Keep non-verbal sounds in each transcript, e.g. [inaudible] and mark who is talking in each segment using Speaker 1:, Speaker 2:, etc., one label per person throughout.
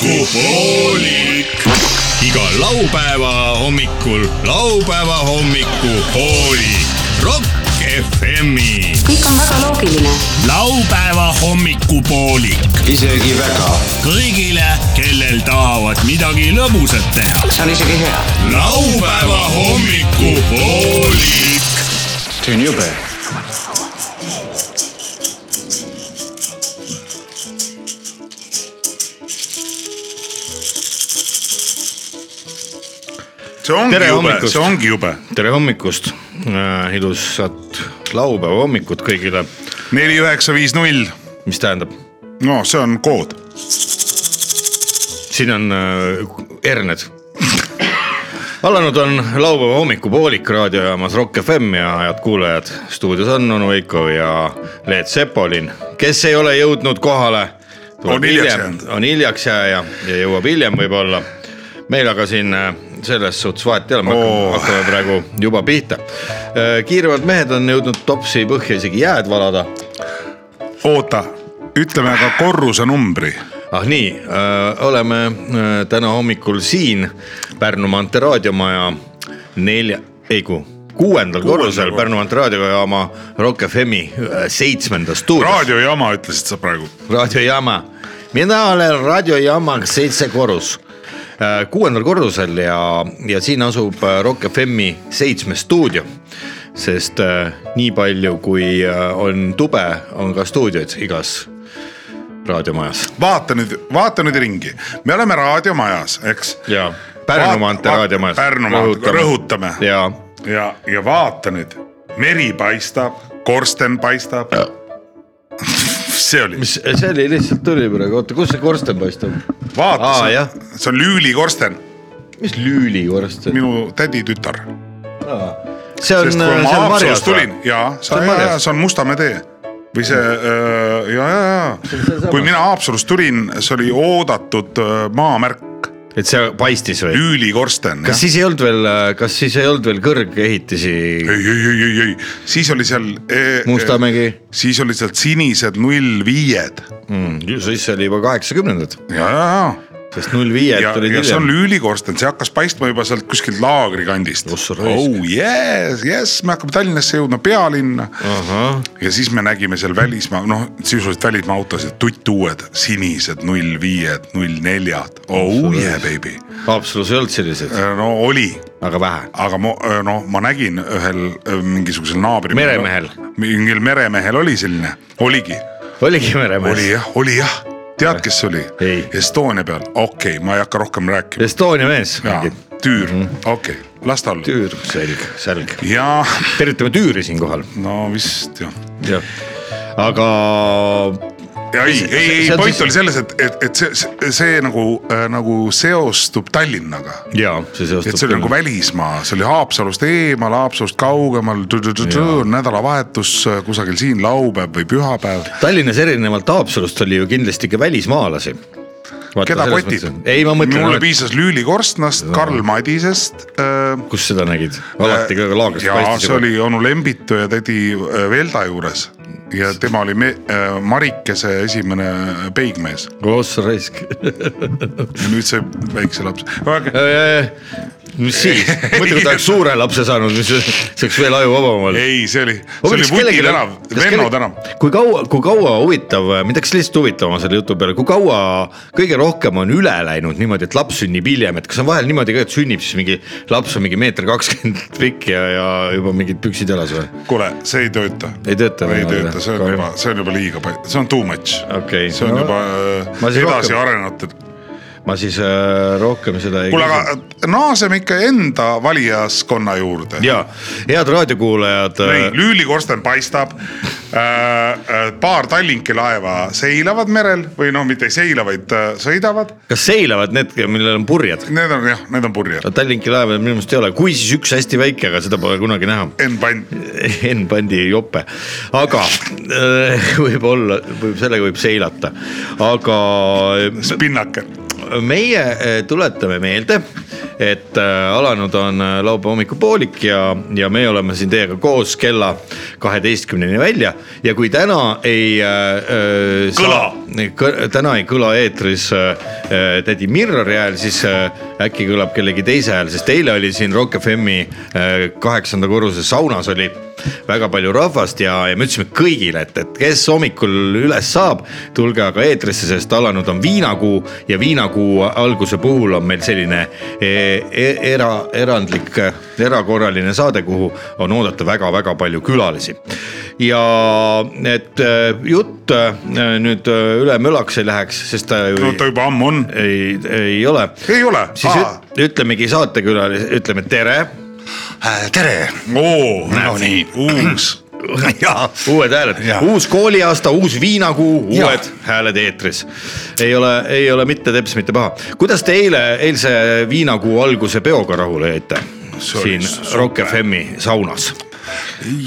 Speaker 1: hommikupoolik . iga laupäeva hommikul laupäeva hommikupoolik . Rock FM-i .
Speaker 2: kõik on väga loogiline .
Speaker 1: laupäeva hommikupoolik
Speaker 3: isegi väga .
Speaker 1: kõigile , kellel tahavad midagi lõbusat teha .
Speaker 3: see on isegi hea .
Speaker 1: laupäeva hommikupoolik .
Speaker 3: see on jube .
Speaker 4: see ongi
Speaker 5: Tere
Speaker 4: Tere jube
Speaker 5: hommikust. ,
Speaker 4: see ongi jube .
Speaker 5: tere hommikust , ilusat laupäeva hommikut kõigile ,
Speaker 4: neli , üheksa , viis , null .
Speaker 5: mis tähendab ,
Speaker 4: no see on kood .
Speaker 5: siin on äh, herned . alanud on laupäeva hommikupoolik raadiojaamas Rock FM ja head kuulajad , stuudios on onu Veiko ja Leet Sepolin , kes ei ole jõudnud kohale .
Speaker 4: On hiljaks jäänud.
Speaker 5: on hiljaks jääja ja jõuab hiljem võib-olla . meil aga siin äh, selles suhtes vahet ei ole , me hakkame,
Speaker 4: Oo.
Speaker 5: hakkame praegu juba pihta . kiirevad mehed on jõudnud topsi põhja isegi jääd valada
Speaker 4: oota , ütleme aga korrusenumbri .
Speaker 5: ah nii , oleme öö, täna hommikul siin Pärnu maantee raadiomaja nelja , ei kui kuuendal korrusel
Speaker 4: korrusel.
Speaker 5: Pärnu maantee raadiojaama Rock FM-i öö, seitsmendas stuudios .
Speaker 4: raadiojama ütlesid sa praegu .
Speaker 5: raadiojaama , mina olen raadiojaama seitse korrus , kuuendal korrusel ja , ja siin asub öö, Rock FM-i seitsmes stuudio sest öö, nii palju , kui öö, on tube , on ka stuudioid igas raadiomajas
Speaker 4: vaata nüüd , vaata nüüd ringi , me oleme raadiomajas , eks .
Speaker 5: ja Pärnu
Speaker 4: Vaat-
Speaker 5: maantee
Speaker 4: vaat-
Speaker 5: raadiomajas .
Speaker 4: Pärnu maantee- rõhutame.
Speaker 5: ja
Speaker 4: ja , ja vaata nüüd , meri paistab , korsten paistab . [laughs] see oli ,
Speaker 5: mis see oli , lihtsalt tuli praegu , oota , kus see korsten paistab ?
Speaker 4: vaata
Speaker 5: Aa, jah. ,
Speaker 4: see on Lüüli korsten ,
Speaker 5: mis lüülikorsten ?
Speaker 4: minu täditütar .
Speaker 5: see on ,
Speaker 4: sest kui
Speaker 5: see
Speaker 4: ma
Speaker 5: on
Speaker 4: Haapsalust
Speaker 5: marjas .
Speaker 4: tulin ja ,
Speaker 5: See on marjas.
Speaker 4: see on Mustamäe tee või see äh, öö, ja , ja , ja kui mina Haapsalust tulin , see oli oodatud öö, maamärk ,
Speaker 5: et see paistis või ?
Speaker 4: lüülikorsten .
Speaker 5: kas siis ei olnud veel , kas siis ei olnud veel kõrgehitisi
Speaker 4: ei , ei , ei , ei , ei , siis oli seal e, .
Speaker 5: Mustamägi
Speaker 4: siis olid seal sinised null viied
Speaker 5: mm, ? siis oli juba kaheksakümnendad ,
Speaker 4: ja , ja ,
Speaker 5: sest null
Speaker 4: ja ,
Speaker 5: viied
Speaker 4: ja ,
Speaker 5: tulid
Speaker 4: ja see on
Speaker 5: hiljem .
Speaker 4: lüülikorsten , see hakkas paistma juba sealt kuskilt laagrikandist .
Speaker 5: Ossa raisk.
Speaker 4: oh yes , yes , me hakkame Tallinnasse jõudma , pealinna .
Speaker 5: ahah ,
Speaker 4: ja siis me nägime seal välismaa , noh sisuliselt välismaa autosid , tuttuued , sinised null viied , null neljad , oh yeah baby .
Speaker 5: Haapsalus ei olnud selliseid ,
Speaker 4: no oli
Speaker 5: aga vähe .
Speaker 4: aga ma noh , ma nägin ühel öö, mingisugusel naabri .
Speaker 5: Meremehel. .
Speaker 4: mingil meremehel oli selline , oligi ,
Speaker 5: oligi meremees
Speaker 4: oli . jah , oli jah , tead , kes see oli
Speaker 5: Ei. ?
Speaker 4: Estonia peal , okei okay, , ma ei hakka rohkem rääkima .
Speaker 5: Estonia mees .
Speaker 4: Tüür , Mm. okei , las ta olla .
Speaker 5: tüür , selg , selg .
Speaker 4: ja
Speaker 5: tervitame Tüüri siinkohal .
Speaker 4: no vist jah .
Speaker 5: jah , aga
Speaker 4: ja ei , ei , ei
Speaker 5: See on
Speaker 4: point
Speaker 5: siis-
Speaker 4: oli selles , et , et , et see- see , see nagu äh, nagu seostub Tallinnaga
Speaker 5: ja see seostub .
Speaker 4: et see oli nagu välismaa , see oli Haapsalust eemal , Haapsalust kaugemal , nädalavahetus äh, kusagil siin laupäev või pühapäev .
Speaker 5: Tallinnas erinevalt Haapsalust oli ju kindlasti ka välismaalasi .
Speaker 4: keda kotib ?
Speaker 5: ei , ma mõtlen
Speaker 4: mulle , piisas Lüüli Korstnast , Karl Madisest äh, .
Speaker 5: kus seda nägid , alati ka laagris
Speaker 4: ja
Speaker 5: paistis
Speaker 4: Äh, see oli onu Lembitu ja tädi äh, Velda juures ja tema oli me, äh, Marikese esimene äh, peigmees
Speaker 5: koos
Speaker 4: [laughs]
Speaker 5: raisk .
Speaker 4: ja nüüd see väikse laps .
Speaker 5: Äh, mis siis , muidu kui ta oleks suure lapse saanud , siis see oleks veel ajuvabam olnud .
Speaker 4: ei , see oli , see oli Vuti tänav , Venno tänav .
Speaker 5: kui kaua , kui kaua huvitav , mind hakkas lihtsalt huvitama selle jutu peale , kui kaua kõige rohkem on üle läinud niimoodi , et laps sünnib hiljem , et kas on vahel niimoodi ka , et sünnib siis mingi laps on mingi meeter kakskümmend [laughs] pikk ja , ja juba mingid püksid jalas või ?
Speaker 4: kuule , see ei tööta .
Speaker 5: Ei tööta
Speaker 4: ei
Speaker 5: niimoodi,
Speaker 4: tööta , see on
Speaker 5: kahju.
Speaker 4: juba , see on juba liiga palju , see on too much
Speaker 5: Okei,
Speaker 4: see on
Speaker 5: no. Ma
Speaker 4: no, juba äh,
Speaker 5: siis
Speaker 4: edasi
Speaker 5: rohkem-
Speaker 4: arenatud .
Speaker 5: ma siis äh, rohkem seda ei
Speaker 4: kuule , aga naaseme ikka enda valijaskonna juurde .
Speaker 5: ja head
Speaker 2: Äh,
Speaker 5: raadiokuulajad , äh,
Speaker 4: ei , lüülikorsten paistab . paar Tallinki laeva seilavad merel või noh , mitte ei seila , vaid äh, sõidavad .
Speaker 5: kas seilavad need , millel on purjed ?
Speaker 4: Need on jah , need on purjed .
Speaker 5: Tallinki laeval minu meelest ei ole , kui siis üks hästi väike , aga seda pole kunagi näha
Speaker 4: N-pann ,
Speaker 5: Enn pandi jope , aga äh, võib-olla , võib , sellega võib seilata , aga
Speaker 4: spinnake .
Speaker 5: meie eh, tuletame meelde , et eh, alanud on eh, laupäeva hommikupoolik ja , ja me oleme siin teiega koos kella kaheteistkümneni välja ja kui täna ei eh, äh, .
Speaker 4: Kõla. .
Speaker 5: täna ei kõla eetris äh, äh, tädi Mirrori hääl , siis äh, äkki kõlab kellegi teise hääl , sest eile oli siin Rock FM-i äh, kaheksanda korruse saunas oli väga palju rahvast ja , ja me ütlesime kõigile , et , et kes hommikul üles saab , tulge aga eetrisse , sest alanud on viinakuu ja viinakuu alguse puhul on meil selline eh, eh, era , erandlik , erakorraline saade , kuhu on oodata väga-väga palju külalisi . ja et eh, jutt eh, nüüd eh, üle mölaks ei läheks , sest ta ju
Speaker 4: no ta
Speaker 5: ei,
Speaker 4: juba ammu on .
Speaker 5: ei , ei ole .
Speaker 4: ei ole ,
Speaker 5: siis
Speaker 4: aa ,
Speaker 5: üt- ütlemegi saatekülalise , ütleme tere
Speaker 2: tere ,
Speaker 4: oo ,
Speaker 2: No nii.
Speaker 4: uus ,
Speaker 2: jaa ,
Speaker 5: uued hääled
Speaker 2: Jah. ,
Speaker 5: uus kooliaasta , uus viinakuu , uued
Speaker 2: Jah.
Speaker 5: hääled eetris . ei ole , ei ole mitte teps , mitte paha . kuidas te eile , eilse viinakuu alguse peoga rahule jäite ? siin Rock FM-i saunas .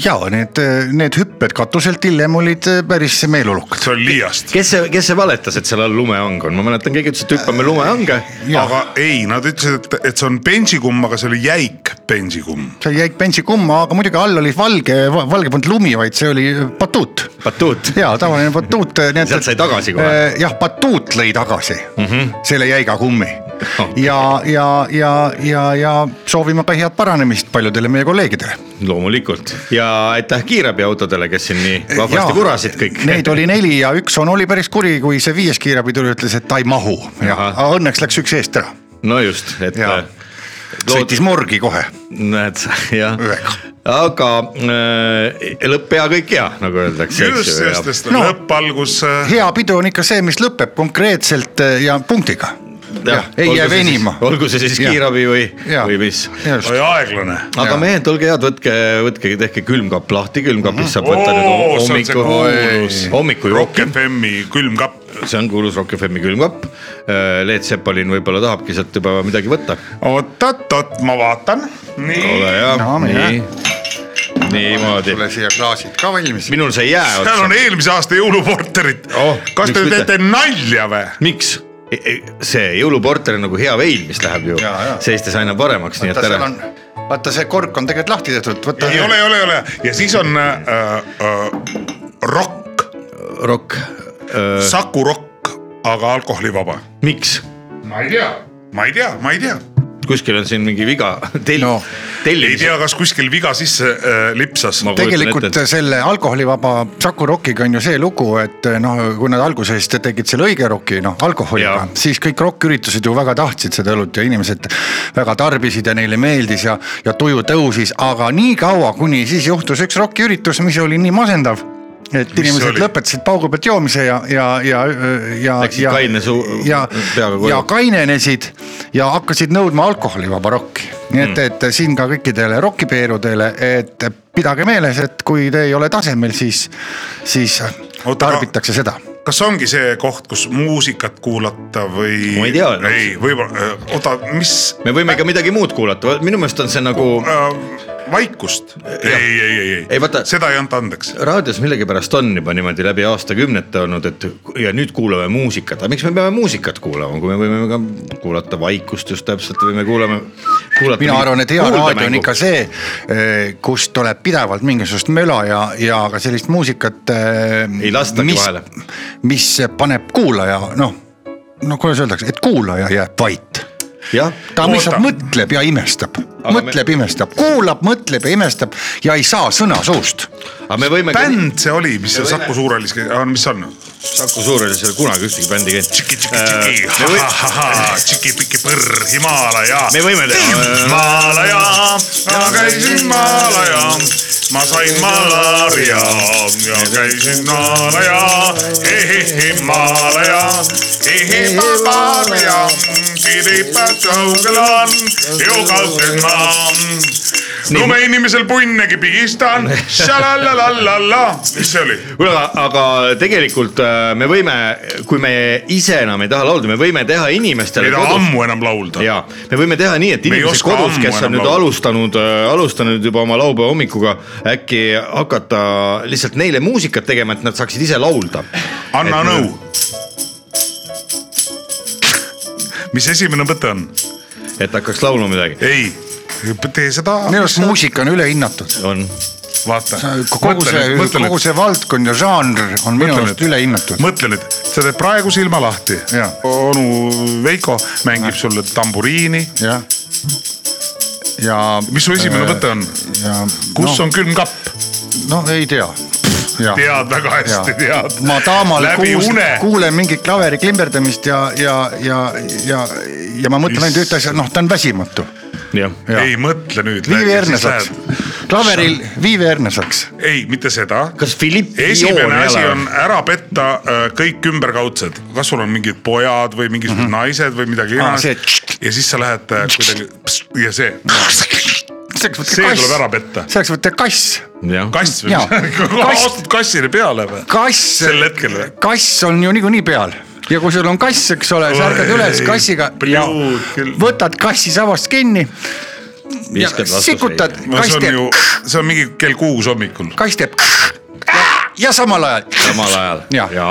Speaker 2: jaa , need , need hüpped katuselt hiljem olid eh, päris meeleolukad .
Speaker 4: see on liiast .
Speaker 5: kes see , kes see valetas , et seal all lumehang on , ma mäletan , keegi ütles , et hüppame lumehange .
Speaker 4: aga ei , nad ütlesid , et , et see on bensikumm , aga see oli jäik bensikumm .
Speaker 2: see jäi bentsi kumma , aga muidugi all oli valge , valge polnud lumi , vaid see oli eh, batuut .
Speaker 5: batuut .
Speaker 2: jaa , tavaline batuut . eh,
Speaker 5: Sealt sai tagasi kohe. . Mhm.
Speaker 2: jah , batuut lõi tagasi mm -hmm. selle jäiga kummi
Speaker 5: Okei.
Speaker 2: ja , ja , ja , ja , ja soovime ka head paranemist paljudele meie kolleegidele .
Speaker 5: loomulikult ja aitäh kiirabiautodele , kes siin nii vahvasti kurasid kõik .
Speaker 2: Neid oli neli ja üks on , oli päris kuri , kui see viies kiirabidur ütles , et ta ei mahu ja
Speaker 5: Ahah. Eh,
Speaker 2: aga õnneks läks üks eest ära ,
Speaker 5: no just , et .
Speaker 2: Jaa. sõitis morgi kohe .
Speaker 5: näed , [laughs] jah
Speaker 2: Ühega. ,
Speaker 5: aga äh, lõpp hea , kõik hea , nagu öeldakse .
Speaker 4: just , just , sest
Speaker 2: No.
Speaker 4: lõpp algus äh,
Speaker 2: hea pidu on ikka see , mis lõpeb konkreetselt eh, ja punktiga . ei jää venima .
Speaker 5: olgu see siis
Speaker 2: Jah.
Speaker 5: kiirabi või ,
Speaker 2: Jah.
Speaker 5: või mis .
Speaker 2: just ,
Speaker 4: oli aeglane .
Speaker 5: aga
Speaker 2: Jah.
Speaker 5: mehed , olge head , võtke , võtke , tehke külmkapp lahti , külmkapist saab võtta
Speaker 4: Oo,
Speaker 5: nüüd
Speaker 4: see on see
Speaker 5: hommiku
Speaker 4: kuulus. , Rock
Speaker 5: hommikujoki .
Speaker 4: FM-i külmkapp .
Speaker 5: see on kuulus Rock FM-i külmkapp . Leet Sepalin võib-olla tahabki sealt juba midagi võtta .
Speaker 4: oot-oot-oot , ma vaatan . nii ,
Speaker 5: ole hea
Speaker 2: No, , mine.
Speaker 5: nii , niimoodi .
Speaker 2: sulle siia klaasid ka valmis .
Speaker 5: minul see ei jää
Speaker 4: seal
Speaker 5: otsa
Speaker 4: on . eelmise aasta jõuluporterit
Speaker 5: Oh,
Speaker 4: oh, . kas
Speaker 5: miks
Speaker 4: te
Speaker 5: mitte?
Speaker 4: teete nalja või ?
Speaker 5: miks ? see jõuluporter on nagu hea vein , mis läheb ju
Speaker 2: Jaa, jaa.
Speaker 5: seestes aina paremaks , nii et
Speaker 2: vaata , seal
Speaker 5: ära
Speaker 2: on , vaata see kork on tegelikult lahti tehtud , võta .
Speaker 4: ei ole , ei ole , ei ole ja siis on äh, äh, rokk ,
Speaker 5: rokk . Äh.
Speaker 4: Saku rokk , aga alkoholivaba .
Speaker 5: miks ?
Speaker 4: ma ei tea , ma ei tea , ma ei tea
Speaker 5: kuskil on siin mingi viga tell-
Speaker 2: No.
Speaker 5: no. ,
Speaker 4: ei
Speaker 5: tellimisel .
Speaker 4: tea , kas kuskil viga sisse äh, lipsas .
Speaker 5: Ma- kujutan
Speaker 2: tegelikult
Speaker 5: ette,
Speaker 2: selle alkoholivaba Saku Rockiga on ju see lugu , et noh , kui nad alguses tegid selle õige roki , noh alkoholiga
Speaker 5: Jaa. ,
Speaker 2: siis kõik rokküritused ju väga tahtsid seda õlut ja inimesed väga tarbisid ja neile meeldis ja , ja tuju tõusis , aga nii kaua , kuni siis juhtus üks rokiüritus , mis oli nii masendav , et inimesed
Speaker 4: oli?
Speaker 2: lõpetasid paugu pealt joomise ja , ja , ja , ja ,
Speaker 5: Läksid
Speaker 2: ja ,
Speaker 5: kaine suu-
Speaker 2: ja
Speaker 5: peaga , koju.
Speaker 2: ja kainenesid ja hakkasid nõudma alkoholivaba rokki . nii et ,
Speaker 5: Mm.
Speaker 2: et siin ka kõikidele rokipeerudele , et pidage meeles , et kui te ei ole tasemel , siis , siis
Speaker 4: Oota,
Speaker 2: tarbitakse seda .
Speaker 4: kas ongi see koht , kus muusikat kuulata või ?
Speaker 5: Ma ei tea, no.
Speaker 4: ei , võib-olla , oota , mis
Speaker 5: me võime ka midagi muud kuulata , minu meelest on see nagu
Speaker 4: äh, , vaikust ? ei , ei , ei , ei,
Speaker 5: Ei, vaata-
Speaker 4: seda ei anta andeks .
Speaker 5: raadios millegipärast on juba niimoodi läbi aastakümnete olnud , et ja nüüd kuulame muusikat , aga miks me peame muusikat kuulama , kui me võime ka kuulata vaikust just täpselt või me kuulame .
Speaker 2: mina arvan , et hea raadio on ikka see , kust tuleb pidevalt mingisugust möla ja , ja ka sellist muusikat .
Speaker 5: Ei lastagi vahele. .
Speaker 2: mis paneb kuulaja , noh , no kuidas öeldakse , et kuulaja jääb vait
Speaker 5: jah ,
Speaker 2: ta lihtsalt
Speaker 4: Oota.
Speaker 2: mõtleb ja imestab ,
Speaker 5: Aga me-
Speaker 2: mõtleb , imestab , kuulab , mõtleb ja imestab ja ei saa sõna suust .
Speaker 5: aga me võime .
Speaker 4: bänd see oli , mis see Saku Suurhallis , mis see on ?
Speaker 5: Saku Suurel ei ole kunagi ühtegi bändi
Speaker 4: tšiki ,
Speaker 5: Äh,
Speaker 4: tšiki , tšiki ,
Speaker 5: käinud .
Speaker 4: ha-ha-ha , tšiki-piki põrr , Himalaja .
Speaker 5: Me võime teha.
Speaker 4: Himalaja , ma käisin Himalaja , ma sain malaaria ja käisin Himalaja , Himalaja , Himalaja , Piripad kaugel on , ju kaugel ma lumeinimesel punnegi pigistan , šalalalallalla , mis see oli ?
Speaker 5: kuule , aga aga tegelikult äh, me võime , kui me ise enam ei taha laulda , me võime teha inimestele
Speaker 4: ei taha
Speaker 5: kodus
Speaker 4: ammu enam laulda .
Speaker 5: ja me võime teha nii , et
Speaker 4: Me ei
Speaker 5: inimesed
Speaker 4: oska
Speaker 5: kodus ,
Speaker 4: ammu
Speaker 5: kes on
Speaker 4: enam
Speaker 5: nüüd
Speaker 4: laulda.
Speaker 5: alustanud , alustanud juba oma laupäeva hommikuga , äkki hakata lihtsalt neile muusikat tegema , et nad saaksid ise laulda .
Speaker 4: anna nõu . mis esimene mõte on ?
Speaker 5: et hakkaks laulma midagi .
Speaker 4: ei , tee seda ,
Speaker 2: minu arust muusika on ülehinnatud .
Speaker 5: on ,
Speaker 4: vaata .
Speaker 2: kogu see , kogu see valdkond ja žanr on minu arust ülehinnatud .
Speaker 4: mõtle nüüd , sa teed praegu silma lahti
Speaker 2: Jaa. .
Speaker 4: onu Veiko mängib sulle tamburiini .
Speaker 2: jah . ja .
Speaker 4: mis su esimene mõte on ?
Speaker 2: ja
Speaker 4: kus
Speaker 2: no,
Speaker 4: on külmkapp ?
Speaker 2: no ei tea .
Speaker 4: tead väga hästi , tead .
Speaker 2: ma taamal
Speaker 4: läbi
Speaker 2: kuus-
Speaker 4: une .
Speaker 2: kuulen mingit klaveri klimberdamist ja , ja , ja , ja , ja ma mõtlen ainult ühte asja , noh , ta on väsimatu .
Speaker 5: jah .
Speaker 2: Jaa.
Speaker 4: ei mõtle nüüd .
Speaker 2: Viivi Ernesaks , klaveril Viivi Ernesaks .
Speaker 4: ei , mitte seda .
Speaker 5: kas Philipp
Speaker 4: esimene asi on ? ära petta äh, kõik ümberkaudsed , kas sul on mingid pojad või mingisugused mm -hmm. naised või midagi iganes
Speaker 2: Mhm. see-
Speaker 4: ja siis sa lähed äh, kuidagi pst, ja see ,
Speaker 2: selleks võtta
Speaker 4: see tuleb ära
Speaker 2: kass ,
Speaker 4: petta .
Speaker 2: selleks võtta kass ,
Speaker 5: jah ,
Speaker 4: kass või
Speaker 2: Jaa.
Speaker 4: mis ,
Speaker 2: Kass.
Speaker 4: ostad kassile peale või ?
Speaker 2: kass
Speaker 4: Sel hetkel või? ,
Speaker 2: kass on ju niikuinii peal ja kui sul on kass , eks ole , sa ärkad üles
Speaker 4: Oi,
Speaker 2: kassiga ja
Speaker 4: priud küll.
Speaker 2: võtad kassi sabast kinni ja
Speaker 5: viskad
Speaker 2: sikutad
Speaker 5: vastu .
Speaker 4: no see
Speaker 2: kass
Speaker 4: on
Speaker 2: teeb
Speaker 4: ju , see on mingi kell kuus hommikul .
Speaker 2: kass teeb ja, ja samal ajal
Speaker 5: samal ajal
Speaker 2: Jah.
Speaker 5: ja. ,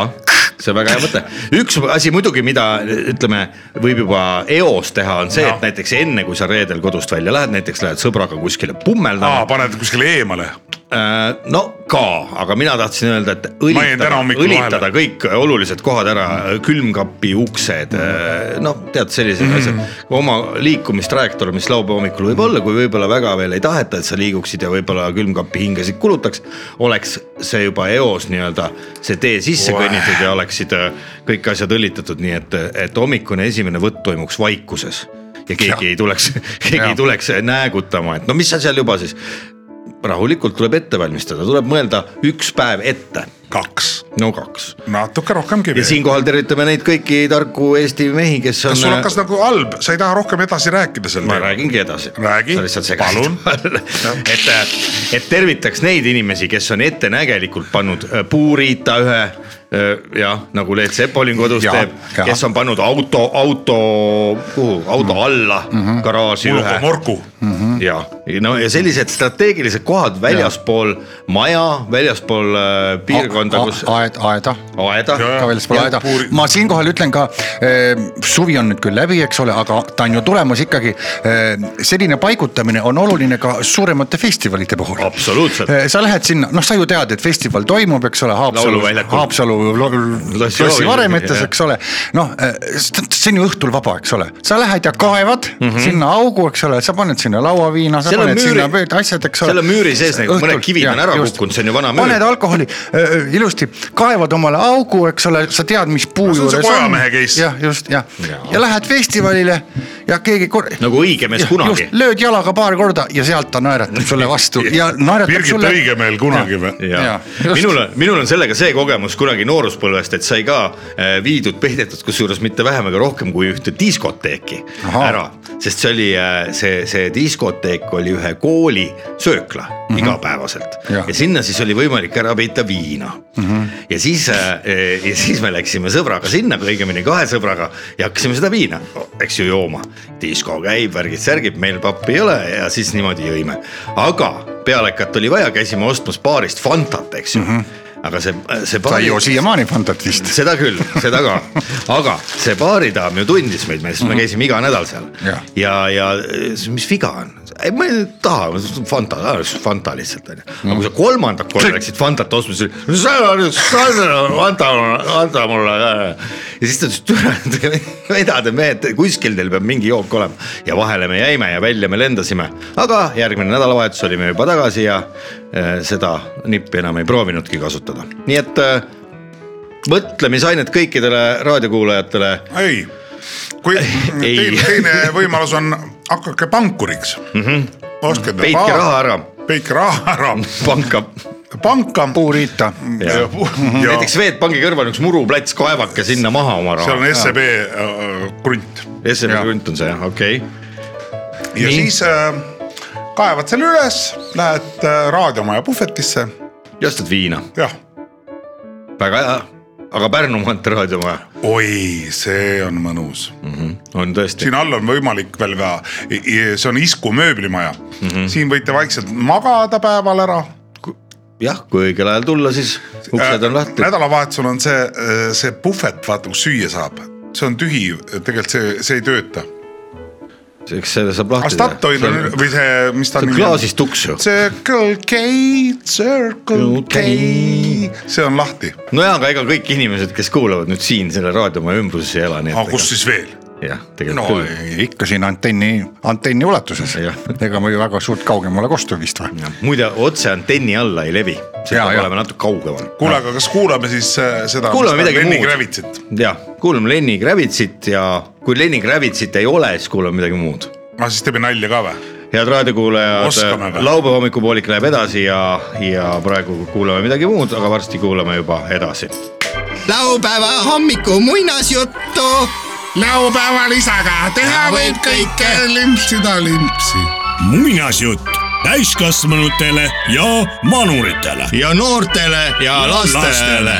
Speaker 5: see on väga hea mõte . üks asi muidugi , mida ütleme , võib juba eos teha , on see , et näiteks enne , kui sa reedel kodust välja lähed , näiteks lähed sõbraga kuskile
Speaker 4: aa ,
Speaker 5: pummeldama .
Speaker 4: paned kuskile eemale .
Speaker 5: Äh, no ka , aga mina tahtsin öelda , et
Speaker 4: Ma jäin täna
Speaker 5: õlitada ,
Speaker 4: hommikul
Speaker 5: õlitada kõik olulised kohad ära , külmkapi uksed , noh , tead sellised
Speaker 4: Mhm.
Speaker 5: mm -hmm. asjad . oma liikumistrajektoor , mis laupäeva hommikul võib olla , kui võib-olla väga veel ei taheta , et sa liiguksid ja võib-olla külmkapi hingesid kulutaks , oleks see juba eos nii-öelda see tee sisse
Speaker 4: Oeh.
Speaker 5: kõnnitud ja oleksid äh, kõik asjad õlitatud , nii et , et hommikune esimene võtt toimuks vaikuses ja keegi ja. ei tuleks , [laughs] keegi ei tuleks näägutama , et no mis sa seal juba siis rahulikult tuleb ette valmistada , tuleb mõelda üks päev ette ,
Speaker 4: kaks ,
Speaker 5: no kaks .
Speaker 4: natuke rohkemgi
Speaker 5: ja
Speaker 4: veel .
Speaker 5: siinkohal tervitame neid kõiki tarku Eesti mehi , kes on .
Speaker 4: kas sul
Speaker 2: äh,
Speaker 4: hakkas nagu halb , sa ei taha rohkem edasi rääkida sel
Speaker 5: ma räägingi edasi .
Speaker 4: Räägi, palun. .
Speaker 5: et , et tervitaks neid inimesi , kes on ettenägelikult pannud äh, puuriita ühe äh, jah , nagu Leet Sepolin kodus
Speaker 2: Ja,
Speaker 5: teeb ,
Speaker 2: ja.
Speaker 5: kes on pannud auto , auto , kuhu , auto alla mm
Speaker 4: Mhm.
Speaker 5: -hmm. garaaži ühe
Speaker 4: mulgu , morgu .
Speaker 2: Mm.
Speaker 5: ja no ja sellised strateegilised kohad väljaspool maja , väljaspool äh,
Speaker 2: Ah,
Speaker 5: piirkonda , kus
Speaker 2: aed , aeda
Speaker 5: aeda
Speaker 4: Ja,
Speaker 2: ka väljaspool
Speaker 4: Ja
Speaker 2: aeda
Speaker 4: puuri- ,
Speaker 2: ma siinkohal ütlen ka , suvi on nüüd küll läbi , eks ole , aga ta on ju tulemas ikkagi . selline paigutamine on oluline ka suuremate festivalide puhul .
Speaker 5: Absoluutselt.
Speaker 2: sa lähed sinna , noh , sa ju tead , et festival toimub , eks ole , Haapsalu ,
Speaker 5: Lauluväljakul.
Speaker 2: Haapsalu lo- lossivaremetes ,
Speaker 5: jah.
Speaker 2: eks ole . noh , see on ju õhtul vaba , eks ole , sa lähed ja kaevad mm -hmm. sinna augu , eks ole , sa paned sinna lauaviina , sa
Speaker 5: Seal on
Speaker 2: paned
Speaker 5: Mhm. müüri-
Speaker 2: sinna pööd- asjad , eks ole .
Speaker 5: seal on müüri sees nagu mõned kivid on ära kukkunud, see on ju vana müür.
Speaker 2: paned alkoholi öö, ilusti , kaevad omale augu , eks ole , sa tead , mis
Speaker 4: see
Speaker 2: puu
Speaker 4: on see
Speaker 2: juures
Speaker 4: kojamehe case.
Speaker 2: jah , just jah
Speaker 5: Jaa. ,
Speaker 2: ja lähed festivalile ja keegi kor- .
Speaker 5: nagu õige mees kunagi .
Speaker 2: lööd jalaga paar korda ja sealt ta naeratab sulle
Speaker 4: [laughs]
Speaker 2: vastu ja naeratab
Speaker 4: Birgit
Speaker 2: sulle .
Speaker 4: Õigemeel kunagi või ?
Speaker 5: ja
Speaker 2: Jaa, just.
Speaker 5: minul on , minul on sellega see kogemus kunagi nooruspõlvest , et sai ka äh, viidud , peidetud kusjuures mitte vähem ega rohkem kui ühte diskoteeki
Speaker 2: Ahaa.
Speaker 5: ära . sest see oli äh, see , see diskoteek oli ühe kooli söökla mm -hmm. igapäevaselt ja.
Speaker 2: Jah.
Speaker 5: ja sinna siis oli võimalik ära peita viina mm . -hmm. ja siis äh, , ja siis me läksime sõbraga sinna , õigemini kahe sõbraga ja hakkasime seda viina , eks ju , jooma . disko käib , värgid-särgid , meil pappi ei ole ja siis niimoodi jõime , aga pealekat oli vaja , käisime ostmas baarist Fantat , eks ju mm . -hmm. aga see , see
Speaker 2: sa ei joo
Speaker 5: baari ,
Speaker 2: siiamaani Fantat vist .
Speaker 5: seda küll , seda ka , aga see baaridaam ju tundis meid , sest me käisime iga nädal seal
Speaker 2: Jah.
Speaker 5: ja , ja siis mis viga on ? ei , ma ei taha , Fanta , Fanta lihtsalt onju . aga kui sa kolmandat korda läksid Fantat ostma , siis oli , sa oled , sa oled , anta , anta mulle . ja siis ta ütles , türa , vedade mehed , kuskil teil peab mingi jook olema . ja vahele me jäime ja välja me lendasime , aga järgmine nädalavahetus olime juba tagasi ja eh, seda nippi enam ei proovinudki kasutada , nii et eh, mõtlemisainet kõikidele raadiokuulajatele
Speaker 4: ei , kui teil teine võimalus on , hakake pankuriks mm . -hmm. ostke endale
Speaker 5: Mhm. peitke
Speaker 4: paar-
Speaker 5: raha ära ,
Speaker 4: peitke raha ära ,
Speaker 5: panka
Speaker 4: panka .
Speaker 2: puuriita .
Speaker 5: Jah. näiteks Swedbanki kõrval on üks muruplats , kaevake sinna maha oma
Speaker 4: seal on
Speaker 5: raha .
Speaker 4: SEB äh, krunt
Speaker 5: SMI krunt on see jah , okei okay. . Nii.
Speaker 4: ja Nii. siis äh, kaevad selle üles , lähed äh, raadiomaja puhvetisse ,
Speaker 5: ja ostad viina ,
Speaker 4: jah .
Speaker 5: väga hea , aga Pärnu maantee raadiomaja
Speaker 4: oi , see on mõnus ,
Speaker 5: Mhm. on tõesti ,
Speaker 4: siin all on võimalik veel ka , see on Isku mööblimaja mm ,
Speaker 5: Mhm.
Speaker 4: -hmm. siin võite vaikselt magada päeval ära
Speaker 5: jah , kui õigel
Speaker 4: Äh,
Speaker 5: ajal tulla , siis uksed on lahti .
Speaker 4: nädalavahetusel on see , see puhvet , vaata kus süüa saab . see on tühi , tegelikult see , see ei tööta .
Speaker 5: eks selle saab lahti
Speaker 4: Astatoil on või see , mis ta
Speaker 5: see on klaasist uks ju.
Speaker 4: Circle K , Circle K , see on lahti ,
Speaker 5: nojah , aga ega kõik inimesed , kes kuulavad nüüd siin selle raadiomaja ümbruses ei ela , nii et .
Speaker 4: aga Ah, kus siis veel ?
Speaker 5: jah , tegelikult
Speaker 4: no
Speaker 5: no, küll .
Speaker 2: ikka siin antenni , antenni ulatuses
Speaker 5: Jah. ,
Speaker 2: ega me ju väga suurt kaugemale kostu vist või ?
Speaker 5: muide , otse antenni alla ei levi , see
Speaker 2: Jaa,
Speaker 5: peab
Speaker 2: jah.
Speaker 5: olema natuke kaugemal .
Speaker 4: kuule , aga kas kuulame siis äh, seda ?
Speaker 5: kuulame midagi
Speaker 4: Kravitsit
Speaker 5: muud . jah , kuulame Lenny Kravitsit ja kui Lenny Kravitsit ei ole , siis kuulame midagi muud .
Speaker 4: ah, , siis teeme nalja ka või ?
Speaker 5: head
Speaker 4: Oskame
Speaker 5: raadiokuulajad
Speaker 4: või? ,
Speaker 5: laupäeva hommikupoolik läheb edasi ja , ja praegu kuulame midagi muud , aga varsti kuulame juba edasi .
Speaker 6: laupäeva hommiku muinasjuttu
Speaker 7: laupäeval isaga teha võib kõike , limpsida limpsi .
Speaker 1: muinasjutt täiskasvanutele ja vanuritele .
Speaker 5: ja noortele ja lastele .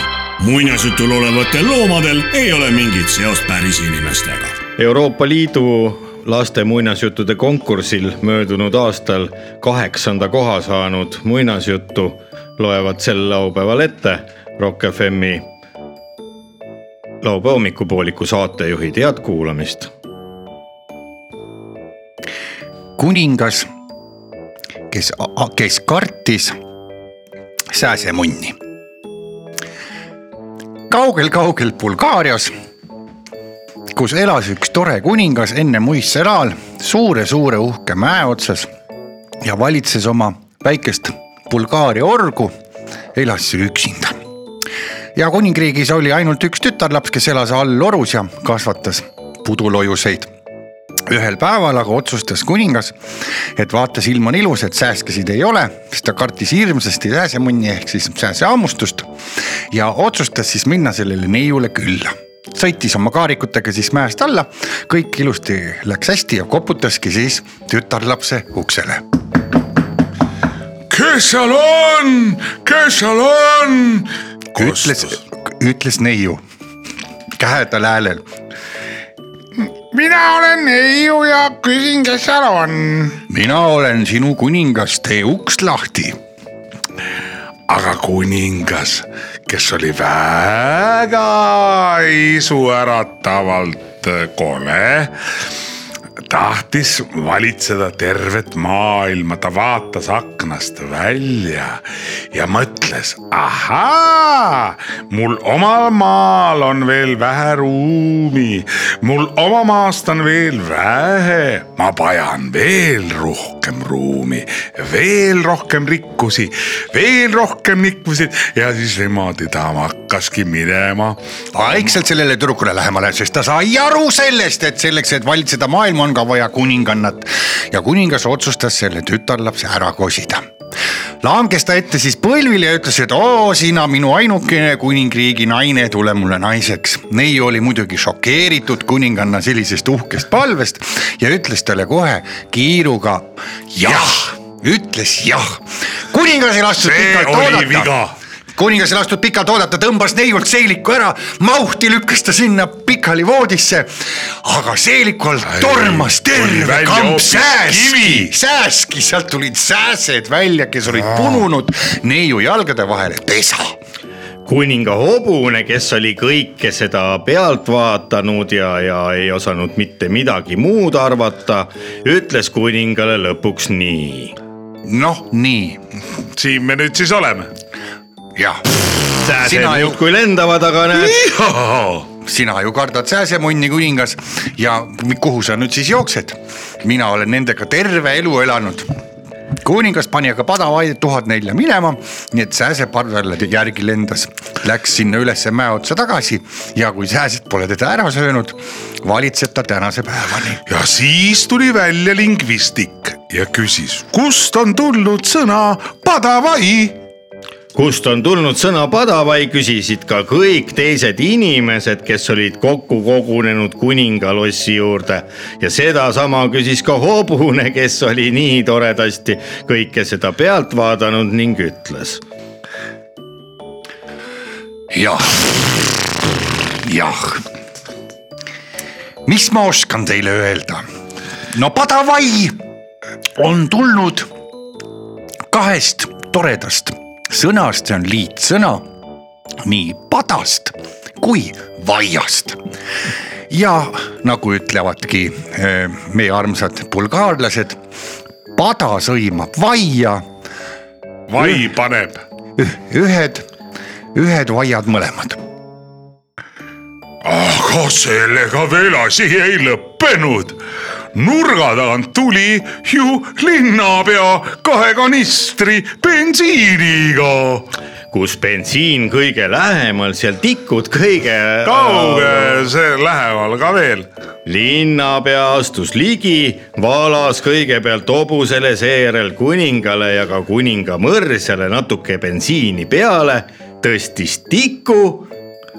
Speaker 1: muinasjutul olevatel loomadel ei ole mingit seost päris inimestega .
Speaker 5: Euroopa Liidu laste muinasjuttude konkursil möödunud aastal kaheksanda koha saanud muinasjuttu loevad sel laupäeval ette Rock FM-i laupäeva hommikupooliku saatejuhid , head kuulamist .
Speaker 2: kuningas , kes , kes kartis sääsemunni . kaugel-kaugel Bulgaarias , kus elas üks tore kuningas enne muistseral suure-suure uhke mäe otsas ja valitses oma väikest Bulgaaria orgu , elas see üksinda ja kuningriigis oli ainult üks tütarlaps , kes elas all orus ja kasvatas pudulojuseid ühel päeval aga otsustas kuningas , et vaata , ilm on ilus , et sääskesid ei ole , siis ta kartis hirmsasti sääsemunni ehk siis sääsehammustust ja otsustas siis minna sellele neiule külla sõitis oma kaarikutega siis mäest alla , kõik ilusti läks hästi ja koputaski siis tütarlapse uksele .
Speaker 4: kes seal on , kes seal on ?
Speaker 2: ütles , ütles neiu kähedal häälel .
Speaker 7: mina olen neiu ja küsin , kes seal on .
Speaker 2: mina olen sinu kuningas , tee uks lahti .
Speaker 4: aga kuningas , kes oli väga isuäratavalt kole , tahtis valitseda tervet maailma , ta vaatas aknast välja ja mõtles , ahaa , mul omal maal on veel vähe ruumi , mul oma maast on veel vähe , ma vajan veel rohkem ruumi , veel rohkem rikkusi , veel rohkem rikkusi ja siis niimoodi ta hakkaski minema
Speaker 2: vaikselt sellele tüdrukule lähemale , sest ta sai aru sellest , et selleks , et valitseda maailma , on ka vaja kuningannat . ja kuningas otsustas selle tütarlapse ära kosida . langes ta ette siis põlvile ja ütles , et oo , sina minu ainukene kuningriigi naine , tule mulle naiseks . neiu oli muidugi šokeeritud kuninganna sellisest uhkest palvest ja ütles talle kohe kiiruga jah , ütles jah . kuningas ei lastud
Speaker 4: See
Speaker 2: pikalt
Speaker 4: oli
Speaker 2: oodata
Speaker 4: viga.
Speaker 2: kuningas ei lastud pikalt oodata , tõmbas neiult seeliku ära , mahti lükkas ta sinna pikali voodisse . aga seelikul tormas
Speaker 4: tuli
Speaker 2: terve
Speaker 4: välja
Speaker 2: kamp
Speaker 4: hoopis
Speaker 2: sääski
Speaker 4: kivi. ,
Speaker 2: sääski , sealt tulid sääsed välja , kes olid pununud neiu jalgade vahele , pesa .
Speaker 5: kuninga hobune , kes oli kõike seda pealt vaatanud ja , ja ei osanud mitte midagi muud arvata , ütles kuningale lõpuks nii .
Speaker 2: noh , nii ,
Speaker 4: siin me nüüd siis oleme .
Speaker 2: jah ,
Speaker 5: sääsed
Speaker 2: Sina ju-
Speaker 5: muudkui lendavad , aga näed ,
Speaker 2: sina ju kardad sääsemunni , kuningas ja kuhu sa nüüd siis jooksed ? mina olen nendega terve elu elanud kuningas pani aga padavaid tuhat nelja minema , nii et sääse pardale järgi lendas , läks sinna ülesse mäe otsa tagasi ja kui sääsed pole teda ära söönud , valitseb ta tänase päevani .
Speaker 4: ja siis tuli välja lingvistik ja küsis , kust on tulnud sõna padavai
Speaker 5: kust on tulnud sõna padavai , küsisid ka kõik teised inimesed , kes olid kokku kogunenud kuningalossi juurde ja sedasama küsis ka hobune , kes oli nii toredasti kõike seda pealt vaadanud ning ütles .
Speaker 2: jah , jah . mis ma oskan teile öelda ? no padavai on tulnud kahest toredast sõnast , see on liitsõna nii padast kui vaiast . ja nagu ütlevadki eh, meie armsad bulgaarlased , pada sõimab vaia ,
Speaker 4: vai paneb .
Speaker 2: ühed , ühed vaiad mõlemad .
Speaker 4: aga sellega veel asi ei lõppenud . nurga tagant tuli ju linnapea kahe kanistri bensiiniga .
Speaker 5: kus bensiin kõige lähemal , seal tikud kõige . äh,
Speaker 4: kaugel lähemal ka veel
Speaker 5: linnapea astus ligi , valas kõigepealt hobusele , seejärel kuningale ja ka kuninga mõrsjale natuke bensiini peale , tõstis tiku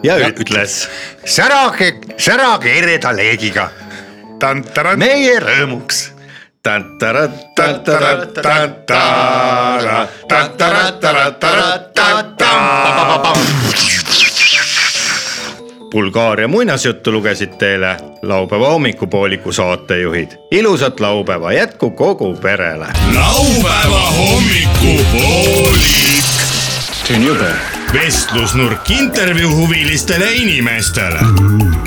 Speaker 5: ja, ja ütles .
Speaker 2: särage , särage ereda leegiga ,
Speaker 4: Tantaran... .
Speaker 2: meie rõõmuks .
Speaker 5: Bulgaaria muinasjuttu lugesid teile laupäeva hommikupooliku saatejuhid . ilusat laupäeva jätku kogu perele .
Speaker 1: laupäeva hommikupoolik .
Speaker 3: Tüün jube .
Speaker 8: vestlusnurk intervjuu huvilistele inimestele .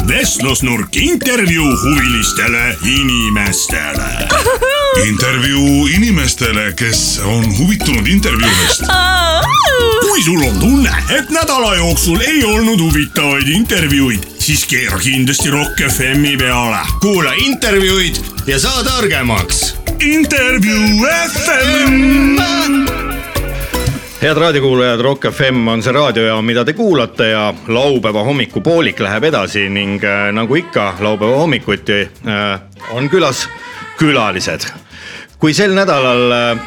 Speaker 1: vestlusnurk intervjuu huvilistele inimestele . intervjuu inimestele , kes on huvitunud intervjuudest . kui sul on tunne , et nädala jooksul ei olnud huvitavaid intervjuuid , siis keera kindlasti Rock FM-i peale .
Speaker 8: kuula intervjuud ja saa targemaks
Speaker 1: intervjuu FM .
Speaker 5: head raadiokuulajad , Rock FM on see raadiojaam , mida te kuulate ja laupäeva hommikupoolik läheb edasi ning äh, nagu ikka laupäeva hommikuti äh, on külas külalised . kui sel nädalal äh,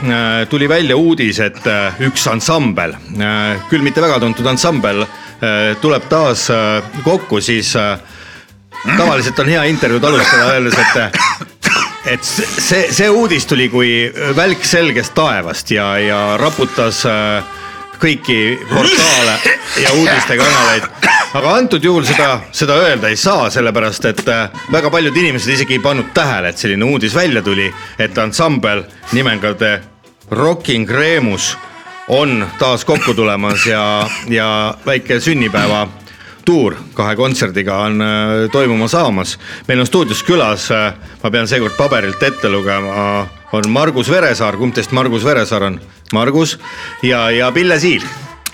Speaker 5: tuli välja uudis , et äh, üks ansambel äh, , küll mitte väga tuntud ansambel äh, , tuleb taas äh, kokku , siis äh, tavaliselt on hea intervjuud alustada öeldes , et äh, et see , see uudis tuli kui välk selgest taevast ja , ja raputas äh, kõiki portaale ja uudistekanaleid . aga antud juhul seda , seda öelda ei saa , sellepärast et äh, väga paljud inimesed isegi ei pannud tähele , et selline uudis välja tuli , et ansambel nimega The Rocking Remus on taas kokku tulemas ja , ja väike sünnipäeva tuur kahe kontserdiga on äh, toimuma saamas . meil on stuudios külas , ma pean seekord paberilt ette lugema , on Margus Veresaar , kumb teist Margus Veresaar on ? Margus ja , ja Pille Siil ,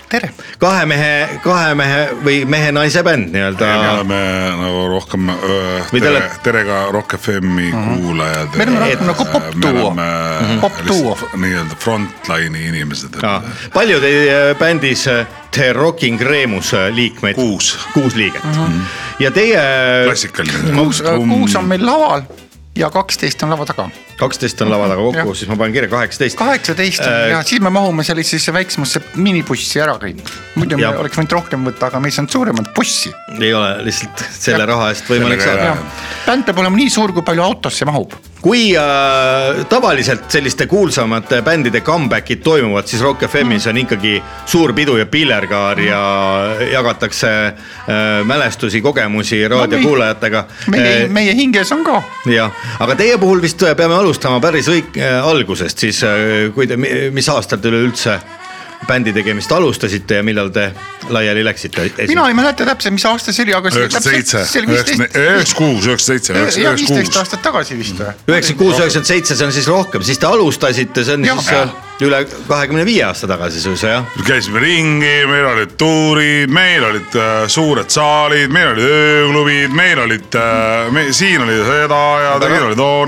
Speaker 2: tere .
Speaker 5: kahe mehe , kahe mehe või mehe-naise bänd nii-öelda .
Speaker 4: me oleme nagu rohkem öö,
Speaker 5: Või te
Speaker 4: tere,
Speaker 5: olete-
Speaker 4: tere ka Rock FM-i kuulajad .
Speaker 2: Me oleme rohkem nagu popduo. Mhm. Popduo.
Speaker 4: nii-öelda frontline'i inimesed .
Speaker 5: palju teie äh, bändis äh, The Rocking Remus äh, liikmeid ?
Speaker 4: Kuus.
Speaker 5: kuus liiget ja teie
Speaker 4: klassikaline .
Speaker 2: kuus , kuus on meil laval ja kaksteist on lava taga .
Speaker 5: kaksteist on lava taga kokku ,
Speaker 2: Jah.
Speaker 5: siis ma panen kirja kaheksateist .
Speaker 2: kaheksateist
Speaker 4: Äh,
Speaker 2: on ja siis me mahume sellisesse väiksemasse minibussi ära kõik . muidu me
Speaker 5: Jah.
Speaker 2: oleks võinud rohkem võtta , aga me ei saanud suuremat bussi .
Speaker 5: ei ole lihtsalt selle raha eest võimalik
Speaker 4: Sellega ei
Speaker 5: saada
Speaker 4: ole. .
Speaker 2: bänd peab olema nii suur , kui palju autosse mahub .
Speaker 5: kui äh, tavaliselt selliste kuulsamate bändide comeback'id toimuvad , siis Rock FM-is on ikkagi suur pidu ja pillerkaar ja jagatakse äh, mälestusi , kogemusi raadiokuulajatega
Speaker 4: Äh,
Speaker 2: meie ,
Speaker 5: Eh,
Speaker 2: meie hinges on ka .
Speaker 5: jah , aga teie puhul vist peame alustama päris õig- äh, algusest , siis äh, kui te , mis aastal te üleüldse bändi tegemist alustasite ja millal te laiali läksite ?
Speaker 2: mina ei mäleta täpselt , mis aasta see oli , aga see
Speaker 4: üheksakümmend seitse ,
Speaker 2: see oli
Speaker 4: üheksakümmend , üheksakümmend kuus , üheksakümmend
Speaker 2: viisteist ,
Speaker 4: seitse ,
Speaker 2: jah viisteist
Speaker 4: üheksakümmend kuus .
Speaker 2: aastat tagasi vist või ?
Speaker 5: üheksakümmend kuus , üheksakümmend seitse , see on siis rohkem , siis te alustasite , see on
Speaker 2: Jah.
Speaker 5: siis äh, üle kahekümne viie aasta tagasi suisa jah ?
Speaker 4: käisime ringi , meil olid tuurid , meil olid äh, suured saalid , meil olid ööklubid , meil olid äh, , me, siin oli seda ja teil oli too .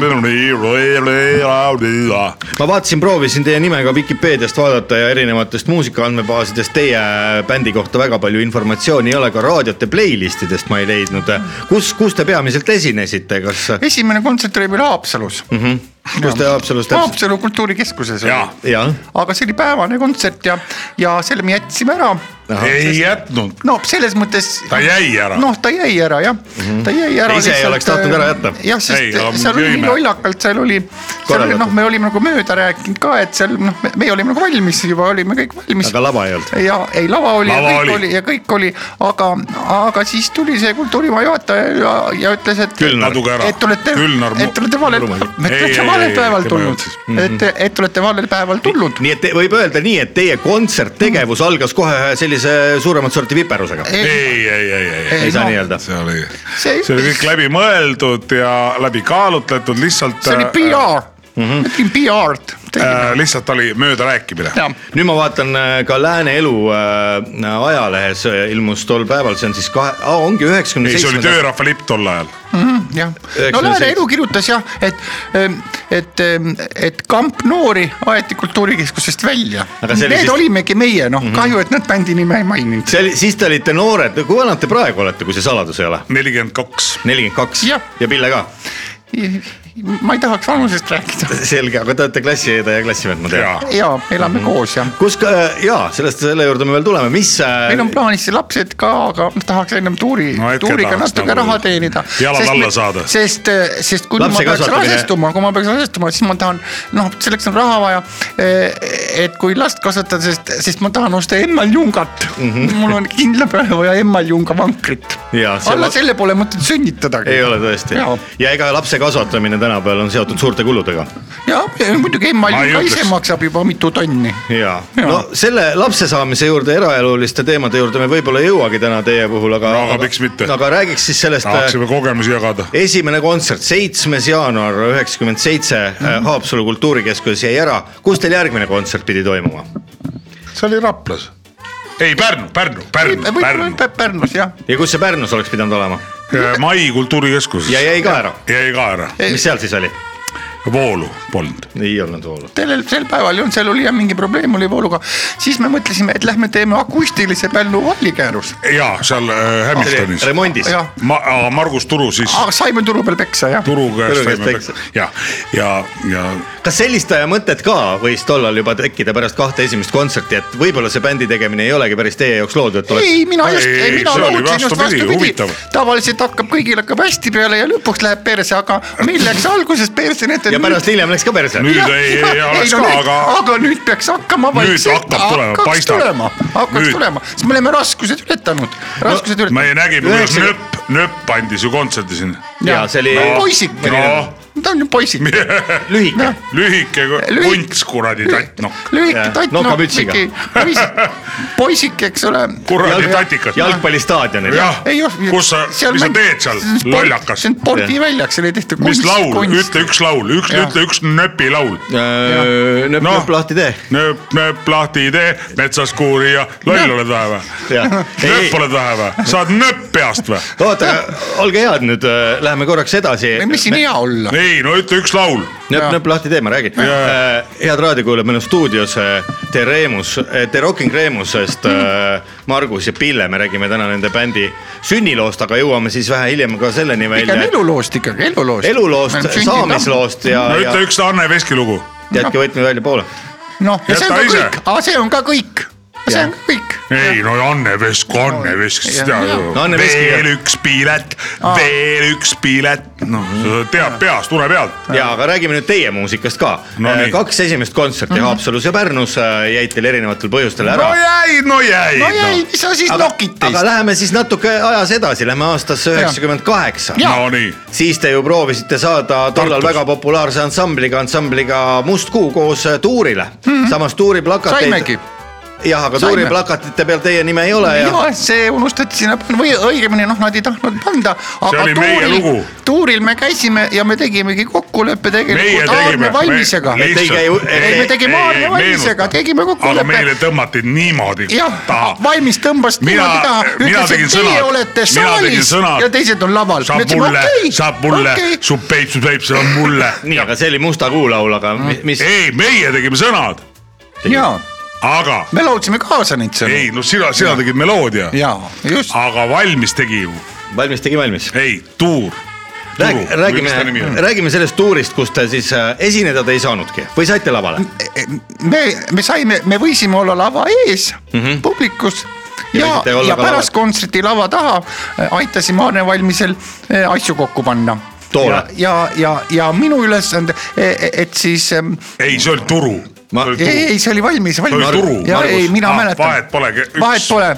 Speaker 5: ma vaatasin , proovisin teie nime ka Vikipeediast vaadata ja erinevatest muusika andmebaasidest teie äh, bändi kohta väga palju informatsiooni ei ole , ka raadiote playlist idest ma ei leidnud . kus , kus te peamiselt esinesite , kas ,
Speaker 2: esimene kontsert oli meil Haapsalus mm . -hmm.
Speaker 5: kus te Haapsalus täpselt ?
Speaker 2: Haapsalu kultuurikeskuses
Speaker 4: Jaa.
Speaker 2: oli ,
Speaker 5: jah ,
Speaker 2: aga see oli päevane kontsert ja , ja selle me jätsime ära .
Speaker 4: ei jätnud ,
Speaker 2: no selles mõttes .
Speaker 4: ta jäi ära .
Speaker 2: noh , ta jäi ära jah mm ,
Speaker 4: Mhm.
Speaker 2: -hmm. ta jäi ära .
Speaker 5: Ise ei oleks tahtnud ära jätta.
Speaker 2: jah ,
Speaker 4: Ei,
Speaker 2: sest
Speaker 4: aga
Speaker 2: ei, seal oli
Speaker 4: jõime.
Speaker 2: nii lollakalt , seal oli , seal oli
Speaker 5: Korraldatud.
Speaker 2: noh , me olime nagu mööda rääkinud ka , et seal noh , meie olime nagu valmis juba , olime kõik valmis .
Speaker 5: aga lava ei olnud .
Speaker 2: ja ei , lava oli
Speaker 4: Lava
Speaker 2: ja
Speaker 4: oli.
Speaker 2: kõik oli. oli ja kõik oli , aga , aga siis tuli see kultuurimaja juhataja ja, ja ütles , et .
Speaker 5: Külnar.
Speaker 4: Kaduge ära.
Speaker 2: et olete ,
Speaker 4: Külnar mu-
Speaker 2: et olete valel , et
Speaker 4: Ei, ei,
Speaker 2: olete valel
Speaker 4: ei,
Speaker 2: päeval
Speaker 4: tema Mhm.
Speaker 2: tulnud
Speaker 4: juhatas. ,
Speaker 2: et , et olete valel päeval tulnud .
Speaker 5: nii et te, võib öelda nii , et teie kontserttegevus algas kohe ühe sellise see suuremat sorti viperusega .
Speaker 4: Mm. ei , ei , ei , ei ,
Speaker 5: ei saa nii-öelda .
Speaker 4: see oli ,
Speaker 2: See-
Speaker 4: see oli kõik läbimõeldud ja läbikaalutletud , lihtsalt .
Speaker 2: see oli PR , me tegime PR-d .
Speaker 4: mhm. äh, . lihtsalt oli möödarääkimine .
Speaker 5: nüüd ma vaatan äh, ka Lääne elu äh, ajalehes äh, ilmus tol päeval , see on siis kahe , ongi üheksakümne
Speaker 4: ei , see oli
Speaker 5: seitsmes .
Speaker 4: töörahva lipp tol ajal .
Speaker 2: jah , no
Speaker 5: 97.
Speaker 2: Lääne Elu kirjutas jah , et , et , et kamp noori aeti kultuurikeskusest välja .
Speaker 5: Aga see oli siis-
Speaker 2: Need
Speaker 5: Mhm.
Speaker 2: siis... olimegi meie , noh mm -hmm. kahju , et nad bändi nime ei maininud .
Speaker 5: see oli , siis te olite noored , kui vanad te praegu olete , kui see saladus ei ole ?
Speaker 4: nelikümmend kaks .
Speaker 5: nelikümmend kaks
Speaker 2: Jah.
Speaker 5: ja Pille ka .
Speaker 2: ma ei tahaks vanusest rääkida .
Speaker 5: [laughs] selge , aga te olete klassiõde ja klassivend , ma tean .
Speaker 2: ja elame mm -hmm. koos ja
Speaker 5: kus ka ja sellest , selle juurde me veel tuleme , mis . äh,
Speaker 2: meil on plaanis lapsed ka , aga tahaks ennem tuuri
Speaker 4: No
Speaker 2: no, ,
Speaker 4: hetkel
Speaker 2: tuuriga
Speaker 4: tahaks
Speaker 2: natuke
Speaker 4: nagu
Speaker 2: nagu raha teenida .
Speaker 4: jalad alla saada.
Speaker 2: sest , sest kui
Speaker 5: Lapse
Speaker 2: ma peaks
Speaker 5: kasvatamine-
Speaker 2: rasestuma , kui ma peaks rasestuma , siis ma tahan , noh , selleks on raha vaja . et kui last kasvatada , sest , sest ma tahan osta emmaljungat mm . -hmm. mul on kindla peale vaja emmaljunga vankrit .
Speaker 5: Mhm. Jaa, see
Speaker 2: alla
Speaker 5: va-
Speaker 2: selle pole mõtet sünnitadagi .
Speaker 5: ei ole tõesti
Speaker 2: ja ,
Speaker 5: ja ega lapse kasvatamine tänapäeval on seotud suurte kuludega
Speaker 2: ja muidugi
Speaker 4: Ma ei
Speaker 2: emmaljung ka ise
Speaker 4: ütleks.
Speaker 2: maksab juba mitu tonni .
Speaker 5: ja
Speaker 2: Jaa.
Speaker 5: no selle lapse saamise juurde , eraeluliste teemade juurde me võib-olla ei jõuagi täna teie puhul , aga
Speaker 4: No aga miks mitte?
Speaker 5: aga räägiks siis sellest äh,
Speaker 4: tahaksime kogemusi jagada .
Speaker 5: esimene kontsert , seitsmes jaanuar üheksakümmend seitse äh, Haapsalu kultuurikeskuses jäi ära , kus teil järgmine kontsert pidi toimuma ?
Speaker 4: see oli Raplas . ei , Pärnu , Pärnu , Pärnu , Pärnu .
Speaker 2: Pärnus jah ,
Speaker 5: ja kus see Pärnus oleks pidanud olema
Speaker 4: Mai kultuurikeskuses .
Speaker 5: ja jäi ka ära ,
Speaker 4: jäi ka ära .
Speaker 5: mis seal siis oli ?
Speaker 4: voolu polnud .
Speaker 5: ei olnud voolu .
Speaker 2: sellel , sel päeval ei olnud , seal oli jah mingi probleem oli vooluga , siis me mõtlesime , et lähme teeme akustilise Pärnu vallikäärus .
Speaker 4: ja seal äh, Hamiltonis .
Speaker 5: remondis .
Speaker 2: jah ,
Speaker 4: Ma- , Margus Turu siis .
Speaker 2: aga saime turu peal peksa jah .
Speaker 4: Turu käest
Speaker 5: Ah! Turu käest
Speaker 4: saime
Speaker 5: peksa.
Speaker 4: ja , ja , ja
Speaker 5: kas sellist äh, mõtet ka võis tollal juba tekkida pärast kahte esimest kontserti , et võib-olla see bändi tegemine ei olegi päris teie jaoks loodud , et oleks
Speaker 2: ei , mina just
Speaker 4: Ei, , ei,
Speaker 2: mina
Speaker 4: see oli
Speaker 2: lootsin just
Speaker 4: vastupidi,
Speaker 2: vastupidi
Speaker 4: huvitav. .
Speaker 2: tavaliselt hakkab , kõigil hakkab hästi peale ja lõpuks läheb perse , aga meil läks alguses perse , nii et .
Speaker 5: ja pärast hiljem läks ka perse .
Speaker 4: nüüd ei , ei oleks ka , aga
Speaker 2: aga nüüd peaks hakkama
Speaker 4: Nüüd hakkab tulema,
Speaker 2: hakkaks
Speaker 4: paistab.
Speaker 2: tulema , hakkaks
Speaker 4: Nüüd.
Speaker 2: tulema , sest me oleme raskused ületanud , raskused no,
Speaker 4: me
Speaker 2: ületanud .
Speaker 4: nägime , kuidas
Speaker 5: Üheksakümmend-
Speaker 4: nööp , nööp andis ju kontserdi sinna .
Speaker 5: jaa , see oli
Speaker 4: No.
Speaker 2: poisike
Speaker 4: Noh. ,
Speaker 2: ta on ju poisike .
Speaker 5: lühike .
Speaker 4: [laughs] lühike
Speaker 2: Lühik-
Speaker 4: kunts , kuradi noh. tattnokk .
Speaker 2: lühike
Speaker 5: Jah,
Speaker 2: tatt ,
Speaker 5: nokamütsiga.
Speaker 2: poisik , eks ole .
Speaker 4: kuradi tatikas .
Speaker 5: jalgpallistaadionil .
Speaker 4: jah , Ah, kus sa , mis sa teed seal , lollakas
Speaker 2: see ? on spordiväljak , selle tehti .
Speaker 4: mis laul , ütle üks laul , üks ,
Speaker 2: Jah.
Speaker 4: ütle üks nööpilaul .
Speaker 5: Äh, nööp ,
Speaker 4: Noh.
Speaker 5: nööp lahti tee .
Speaker 4: nööp , nööp lahti ei tee , metsas kuuri ja loll oled vähe või ? nööp oled vähe või ? saad nööp peast või ?
Speaker 5: oota , olge head , nüüd äh, läheme korraks edasi .
Speaker 2: mis siin hea olla ?
Speaker 4: ei , no ütle üks laul .
Speaker 5: nööp , nööp lahti tee , ma räägin . head raadiokuulajad , meil on stuudios äh, The Remus , The Rocking Remusest äh, Margus ja Pille , me räägime täna nende bändi sünniloost , aga jõuame siis vähe hiljem ka selleni
Speaker 2: pigem
Speaker 5: välja .
Speaker 2: eluloost ikkagi , eluloost .
Speaker 5: eluloost , saamisloost ja ,
Speaker 4: no
Speaker 5: ja
Speaker 4: ütle üks Anne Veski lugu .
Speaker 5: jätke võtme välja poole .
Speaker 2: noh , ja see
Speaker 4: Jäta
Speaker 2: on ka
Speaker 4: ise.
Speaker 2: kõik , aga see on ka kõik , see on ka kõik .
Speaker 4: ei no Anne Vesk , Anne Vesk , sa tead ju .
Speaker 5: Anne Veskiga.
Speaker 4: veel üks pilet , veel üks pilet , noh , sa tead peast , une pealt .
Speaker 5: ja aga räägime nüüd teie muusikast ka
Speaker 4: No
Speaker 5: Eh,
Speaker 4: nii.
Speaker 5: kaks esimest kontserti Haapsalus ja Pärnus eh, jäid teil erinevatel põhjustel ära
Speaker 4: no jäid , no jäid .
Speaker 2: no jäi , mis sa siis
Speaker 5: aga,
Speaker 2: nokid
Speaker 5: aga
Speaker 2: teist ?
Speaker 5: läheme siis natuke ajas edasi , lähme aastasse üheksakümmend kaheksa .
Speaker 4: Nonii ,
Speaker 5: siis te ju proovisite saada tollal
Speaker 4: Tartus.
Speaker 5: väga populaarse ansambliga , ansambliga Must Kuu koos eh, tuurile mm . -hmm. samas tuuri plakateid
Speaker 2: Mhm. saimegi ..
Speaker 5: jah , aga
Speaker 2: Saime.
Speaker 5: tuuri plakatite peal teie nime ei ole ja,
Speaker 2: ja see unustati sinna panna või õigemini noh , nad ei tahtnud panna .
Speaker 4: oli meie lugu.
Speaker 2: tuuril me käisime ja me tegimegi kokkuleppe
Speaker 4: meie
Speaker 2: tegelikult
Speaker 4: tegime .
Speaker 2: Aarne Valmisega .
Speaker 5: Me- ei käi- ei-
Speaker 2: me tegime Aarne Valmisega , tegime
Speaker 4: aga meile
Speaker 2: kokkuleppe .
Speaker 4: tõmmati niimoodi
Speaker 2: jah Ah,
Speaker 4: taha ,.
Speaker 2: Valmis tõmbas
Speaker 4: Mina-
Speaker 2: niimoodi taha ,
Speaker 4: mina
Speaker 2: ütles ,
Speaker 4: tegin
Speaker 2: et teie
Speaker 4: sõnad.
Speaker 2: olete
Speaker 4: Mina tegin
Speaker 2: saalis
Speaker 4: sõnad.
Speaker 2: ja teised on laval .
Speaker 4: saab mulle , saab mulle , su peip , su peip , see on
Speaker 2: [laughs]
Speaker 4: mulle .
Speaker 5: nii , aga see oli Musta Kuu laul , aga mi- mis ,
Speaker 2: Eh?
Speaker 4: ei , meie tegime sõnad ,
Speaker 2: jaa ,
Speaker 4: aga
Speaker 2: me laulsime kaasa neid sõnu .
Speaker 4: ei , no sina , sina tegid meloodia ,
Speaker 2: jaa , just .
Speaker 4: aga valmis tegi ju ,
Speaker 5: valmis tegi valmis .
Speaker 4: ei , tuur .
Speaker 5: räägime , räägime sellest tuurist , kus te siis eh, esineda te ei saanudki või saite lavale ?
Speaker 2: Eh, me , me saime , me võisime olla lava ees mm -hmm. publikus ja ,
Speaker 5: Mhm. võisite
Speaker 2: ja,
Speaker 5: olla
Speaker 2: ja
Speaker 5: ka
Speaker 2: pärast
Speaker 5: laval.
Speaker 2: kontserti lava taha äh, aitasime Aarne Valmisel äh, asju kokku panna .
Speaker 5: Toole.
Speaker 2: ja , ja, ja , ja minu ülesande , et siis ähm,
Speaker 4: ei , see oli turu .
Speaker 5: Ma-
Speaker 2: ei , ei see oli valmis , valmis
Speaker 4: oli Turu, .
Speaker 2: ja
Speaker 4: Margus.
Speaker 2: ei , mina
Speaker 4: Ah,
Speaker 2: ah, mäletan .
Speaker 4: vahet pole, ke- üks.
Speaker 2: vahet pole ,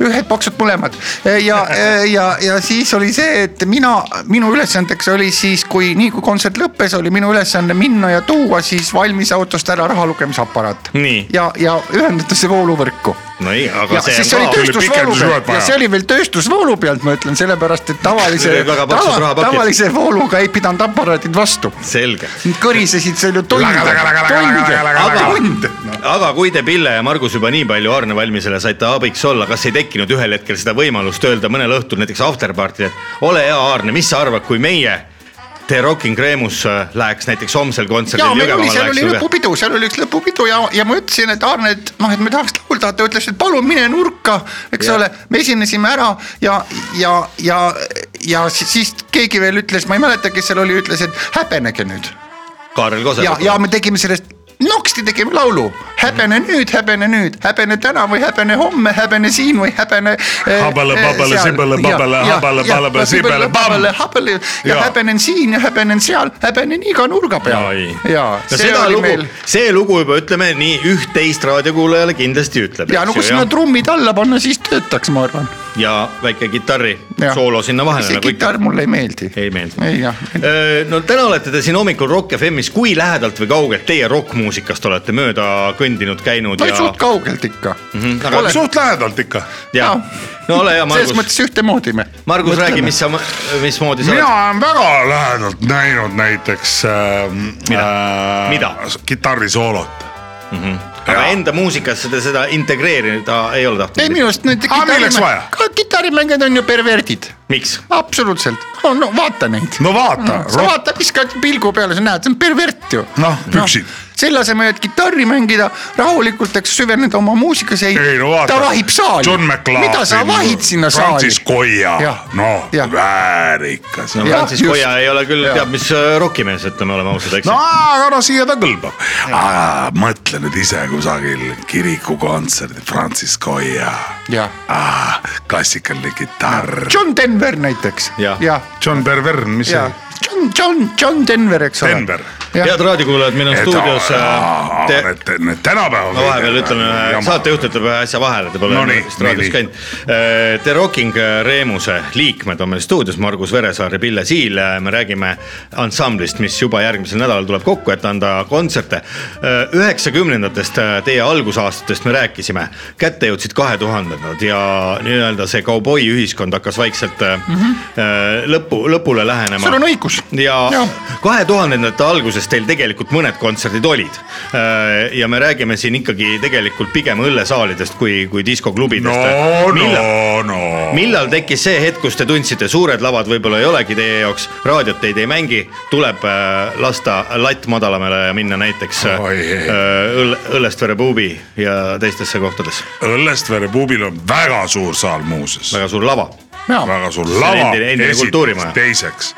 Speaker 2: ühed paksud mõlemad ja , ja , ja siis oli see , et mina , minu ülesandeks oli siis , kui nii kui kontsert lõppes , oli minu ülesanne minna ja tuua siis valmis autost ära raha lugemisaparaat
Speaker 5: Nii.
Speaker 2: ja , ja ühendada see vooluvõrku
Speaker 5: no ei , aga
Speaker 2: ja
Speaker 5: ja, see
Speaker 2: siis see
Speaker 5: on ka
Speaker 2: oli
Speaker 4: tüü-
Speaker 2: tööstusvoolu
Speaker 4: pikendusvood
Speaker 2: pealt ja
Speaker 4: vaja.
Speaker 2: see oli veel tööstusvoolu pealt , ma ütlen , sellepärast et tavalise
Speaker 5: Need olid , väga paksud rahapakid.
Speaker 2: tavalise vooluga ei pidanud aparaadid vastu .
Speaker 5: selge .
Speaker 2: kõrisesid seal ju tunde ,
Speaker 4: Laga, laga, laga, laga, laga, laga,
Speaker 2: tunde ,
Speaker 5: laga.
Speaker 2: tunde .
Speaker 5: aga kui te Pille ja Margus juba nii palju Aarne Valmisele saite abiks olla , kas ei tekkinud ühel hetkel seda võimalust öelda mõnel õhtul näiteks afterparty'l , et ole hea , Aarne , mis sa arvad , kui meie The Rocking Cremus äh, läheks näiteks homsel
Speaker 2: ja
Speaker 5: kontserdil
Speaker 2: meil oli , seal oli
Speaker 5: Jõgevamaal ?
Speaker 2: lõpupidu , seal oli üks lõpupidu ja , ja ma ütlesin , et Aarne , et noh , et me tahaks laulda , ta ütles , et palun mine nurka , eks
Speaker 5: Jah.
Speaker 2: ole , me esinesime ära ja , ja , ja , ja si- siis keegi veel ütles , ma ei mäleta , kes seal oli , ütles , et häbenege nüüd
Speaker 5: Kaarel
Speaker 2: ja , ja
Speaker 5: Kosel .
Speaker 2: me tegime sellest noksti tegime laulu , häbene nüüd , häbene nüüd , häbene täna või häbene homme , häbene siin või häbene . eh,
Speaker 4: Habale, babale, sibale, babale, habale, balabale, sibale, bamm.
Speaker 2: habale ja
Speaker 5: Jaa.
Speaker 2: häbenen siin ja häbenen seal , häbenen iga nurga peal . ja
Speaker 5: no
Speaker 2: see
Speaker 5: seda
Speaker 2: oli
Speaker 5: lugu
Speaker 2: meil
Speaker 5: meil... , see lugu juba ütleme nii üht-teist raadiokuulajale kindlasti ütleb .
Speaker 2: ja no kui sinna trummid alla panna , siis töötaks , ma arvan .
Speaker 5: ja väike kitarri soolo sinna vahele . nagu
Speaker 2: see kitarr mulle ei meeldi .
Speaker 5: ei meeldi .
Speaker 2: ei jah ,
Speaker 5: Äh, no täna olete te siin hommikul Rock FM-is , kui lähedalt või kaugelt teie rokkmuusikast olete mööda kõndinud , käinud
Speaker 2: no
Speaker 5: ja . Mhm.
Speaker 2: suht kaugelt ikka mm . -hmm.
Speaker 5: aga
Speaker 2: Ole,
Speaker 4: suht lähedalt ikka .
Speaker 5: ja
Speaker 2: jaa. ,
Speaker 5: no ole hea ,
Speaker 2: selles
Speaker 5: Margus ,
Speaker 2: mõttes ühtemoodi me .
Speaker 5: Margus , räägi , mis sa , mismoodi sa
Speaker 4: mina
Speaker 5: oled .
Speaker 4: olen väga lähedalt näinud näiteks äh, äh,
Speaker 5: Mida?
Speaker 4: kitarrisoolot .
Speaker 5: aga
Speaker 2: Mhm.
Speaker 4: jaa.
Speaker 5: enda muusikasse te seda integreerida ei ole
Speaker 2: ei
Speaker 5: tahtnud ?
Speaker 2: minu arust need
Speaker 4: Aga milleks vaja?
Speaker 2: kitarrimäng- kitarrimängijad on ju perverdid
Speaker 5: miks ?
Speaker 2: absoluutselt , no no vaata neid .
Speaker 4: no vaata ,
Speaker 2: sa vaata , viskad pilgu peale , sa näed , see on pervert ju .
Speaker 4: Noh, püksid. .
Speaker 2: selle asemel , et kitarri mängida rahulikult , eks süveneda oma muusikasse .
Speaker 4: ei no vaata .
Speaker 2: ta vahib saali .
Speaker 4: John McLaughlin .
Speaker 2: mida sa vahid sinna saali
Speaker 4: Francis ? Koia
Speaker 2: Jah. ,
Speaker 4: noh
Speaker 2: Jah. ,
Speaker 4: väärikas .
Speaker 5: no
Speaker 2: Jah,
Speaker 5: Francis
Speaker 2: just.
Speaker 5: Koja ei ole küll
Speaker 2: Jaa.
Speaker 5: teab mis äh, rokimees , ütleme , oleme ausad , eks
Speaker 4: no
Speaker 5: ju .
Speaker 4: aga no siia ta kõlbab . mõtle nüüd ise kusagil kirikukontserdil Francis Koia ,
Speaker 2: jah ,
Speaker 4: klassikaline kitarr .
Speaker 2: John Denver näiteks .
Speaker 5: Jah.
Speaker 2: jah ,
Speaker 4: John Pervern , mis see
Speaker 2: jah , John , John , John Denver , eks ole .
Speaker 4: Denver.
Speaker 2: jah
Speaker 5: head , raadiokuulajad , meil on stuudios äh, te...
Speaker 4: Need , need äh, tänapäeval .
Speaker 5: ma vahepeal ütlen , saatejuht ütleb ühe asja vahele , te pole
Speaker 4: No
Speaker 5: enne
Speaker 4: nii,
Speaker 5: vist
Speaker 4: nii,
Speaker 5: raadios
Speaker 4: nii.
Speaker 5: käinud . The Rocking eh, Reemuse liikmed on meil stuudios , Margus Veresaar ja Pille Siil . me räägime ansamblist , mis juba järgmisel nädalal tuleb kokku , et anda kontserte . üheksakümnendatest , teie algusaastatest me rääkisime , kätte jõudsid kahe tuhandendad ja nii-öelda see kauboiühiskond hakkas vaikselt mm
Speaker 4: Mhm.
Speaker 5: -hmm. lõpu , lõpule lähenema .
Speaker 2: sul on õigus .
Speaker 5: ja
Speaker 2: Jah.
Speaker 5: kahe tuhandendate alguses teil tegelikult mõned kontserdid olid . ja me räägime siin ikkagi tegelikult pigem õllesaalidest kui , kui diskoklubidest .
Speaker 4: no ,
Speaker 5: millal ,
Speaker 4: no , no .
Speaker 5: millal tekkis see hetk , kus te tundsite , suured lavad võib-olla ei olegi teie jaoks , raadiot teid ei mängi , tuleb äh, lasta latt madalamale ja minna näiteks äh,
Speaker 4: Oi, ei.
Speaker 5: õlle , Õllestvere puubi ja teistesse kohtadesse .
Speaker 4: Õllestvere puubil on väga suur saal muuseas .
Speaker 5: väga suur lava .
Speaker 4: väga suur
Speaker 5: on
Speaker 4: lava
Speaker 5: endine- endine , kultuurimaja.
Speaker 4: teiseks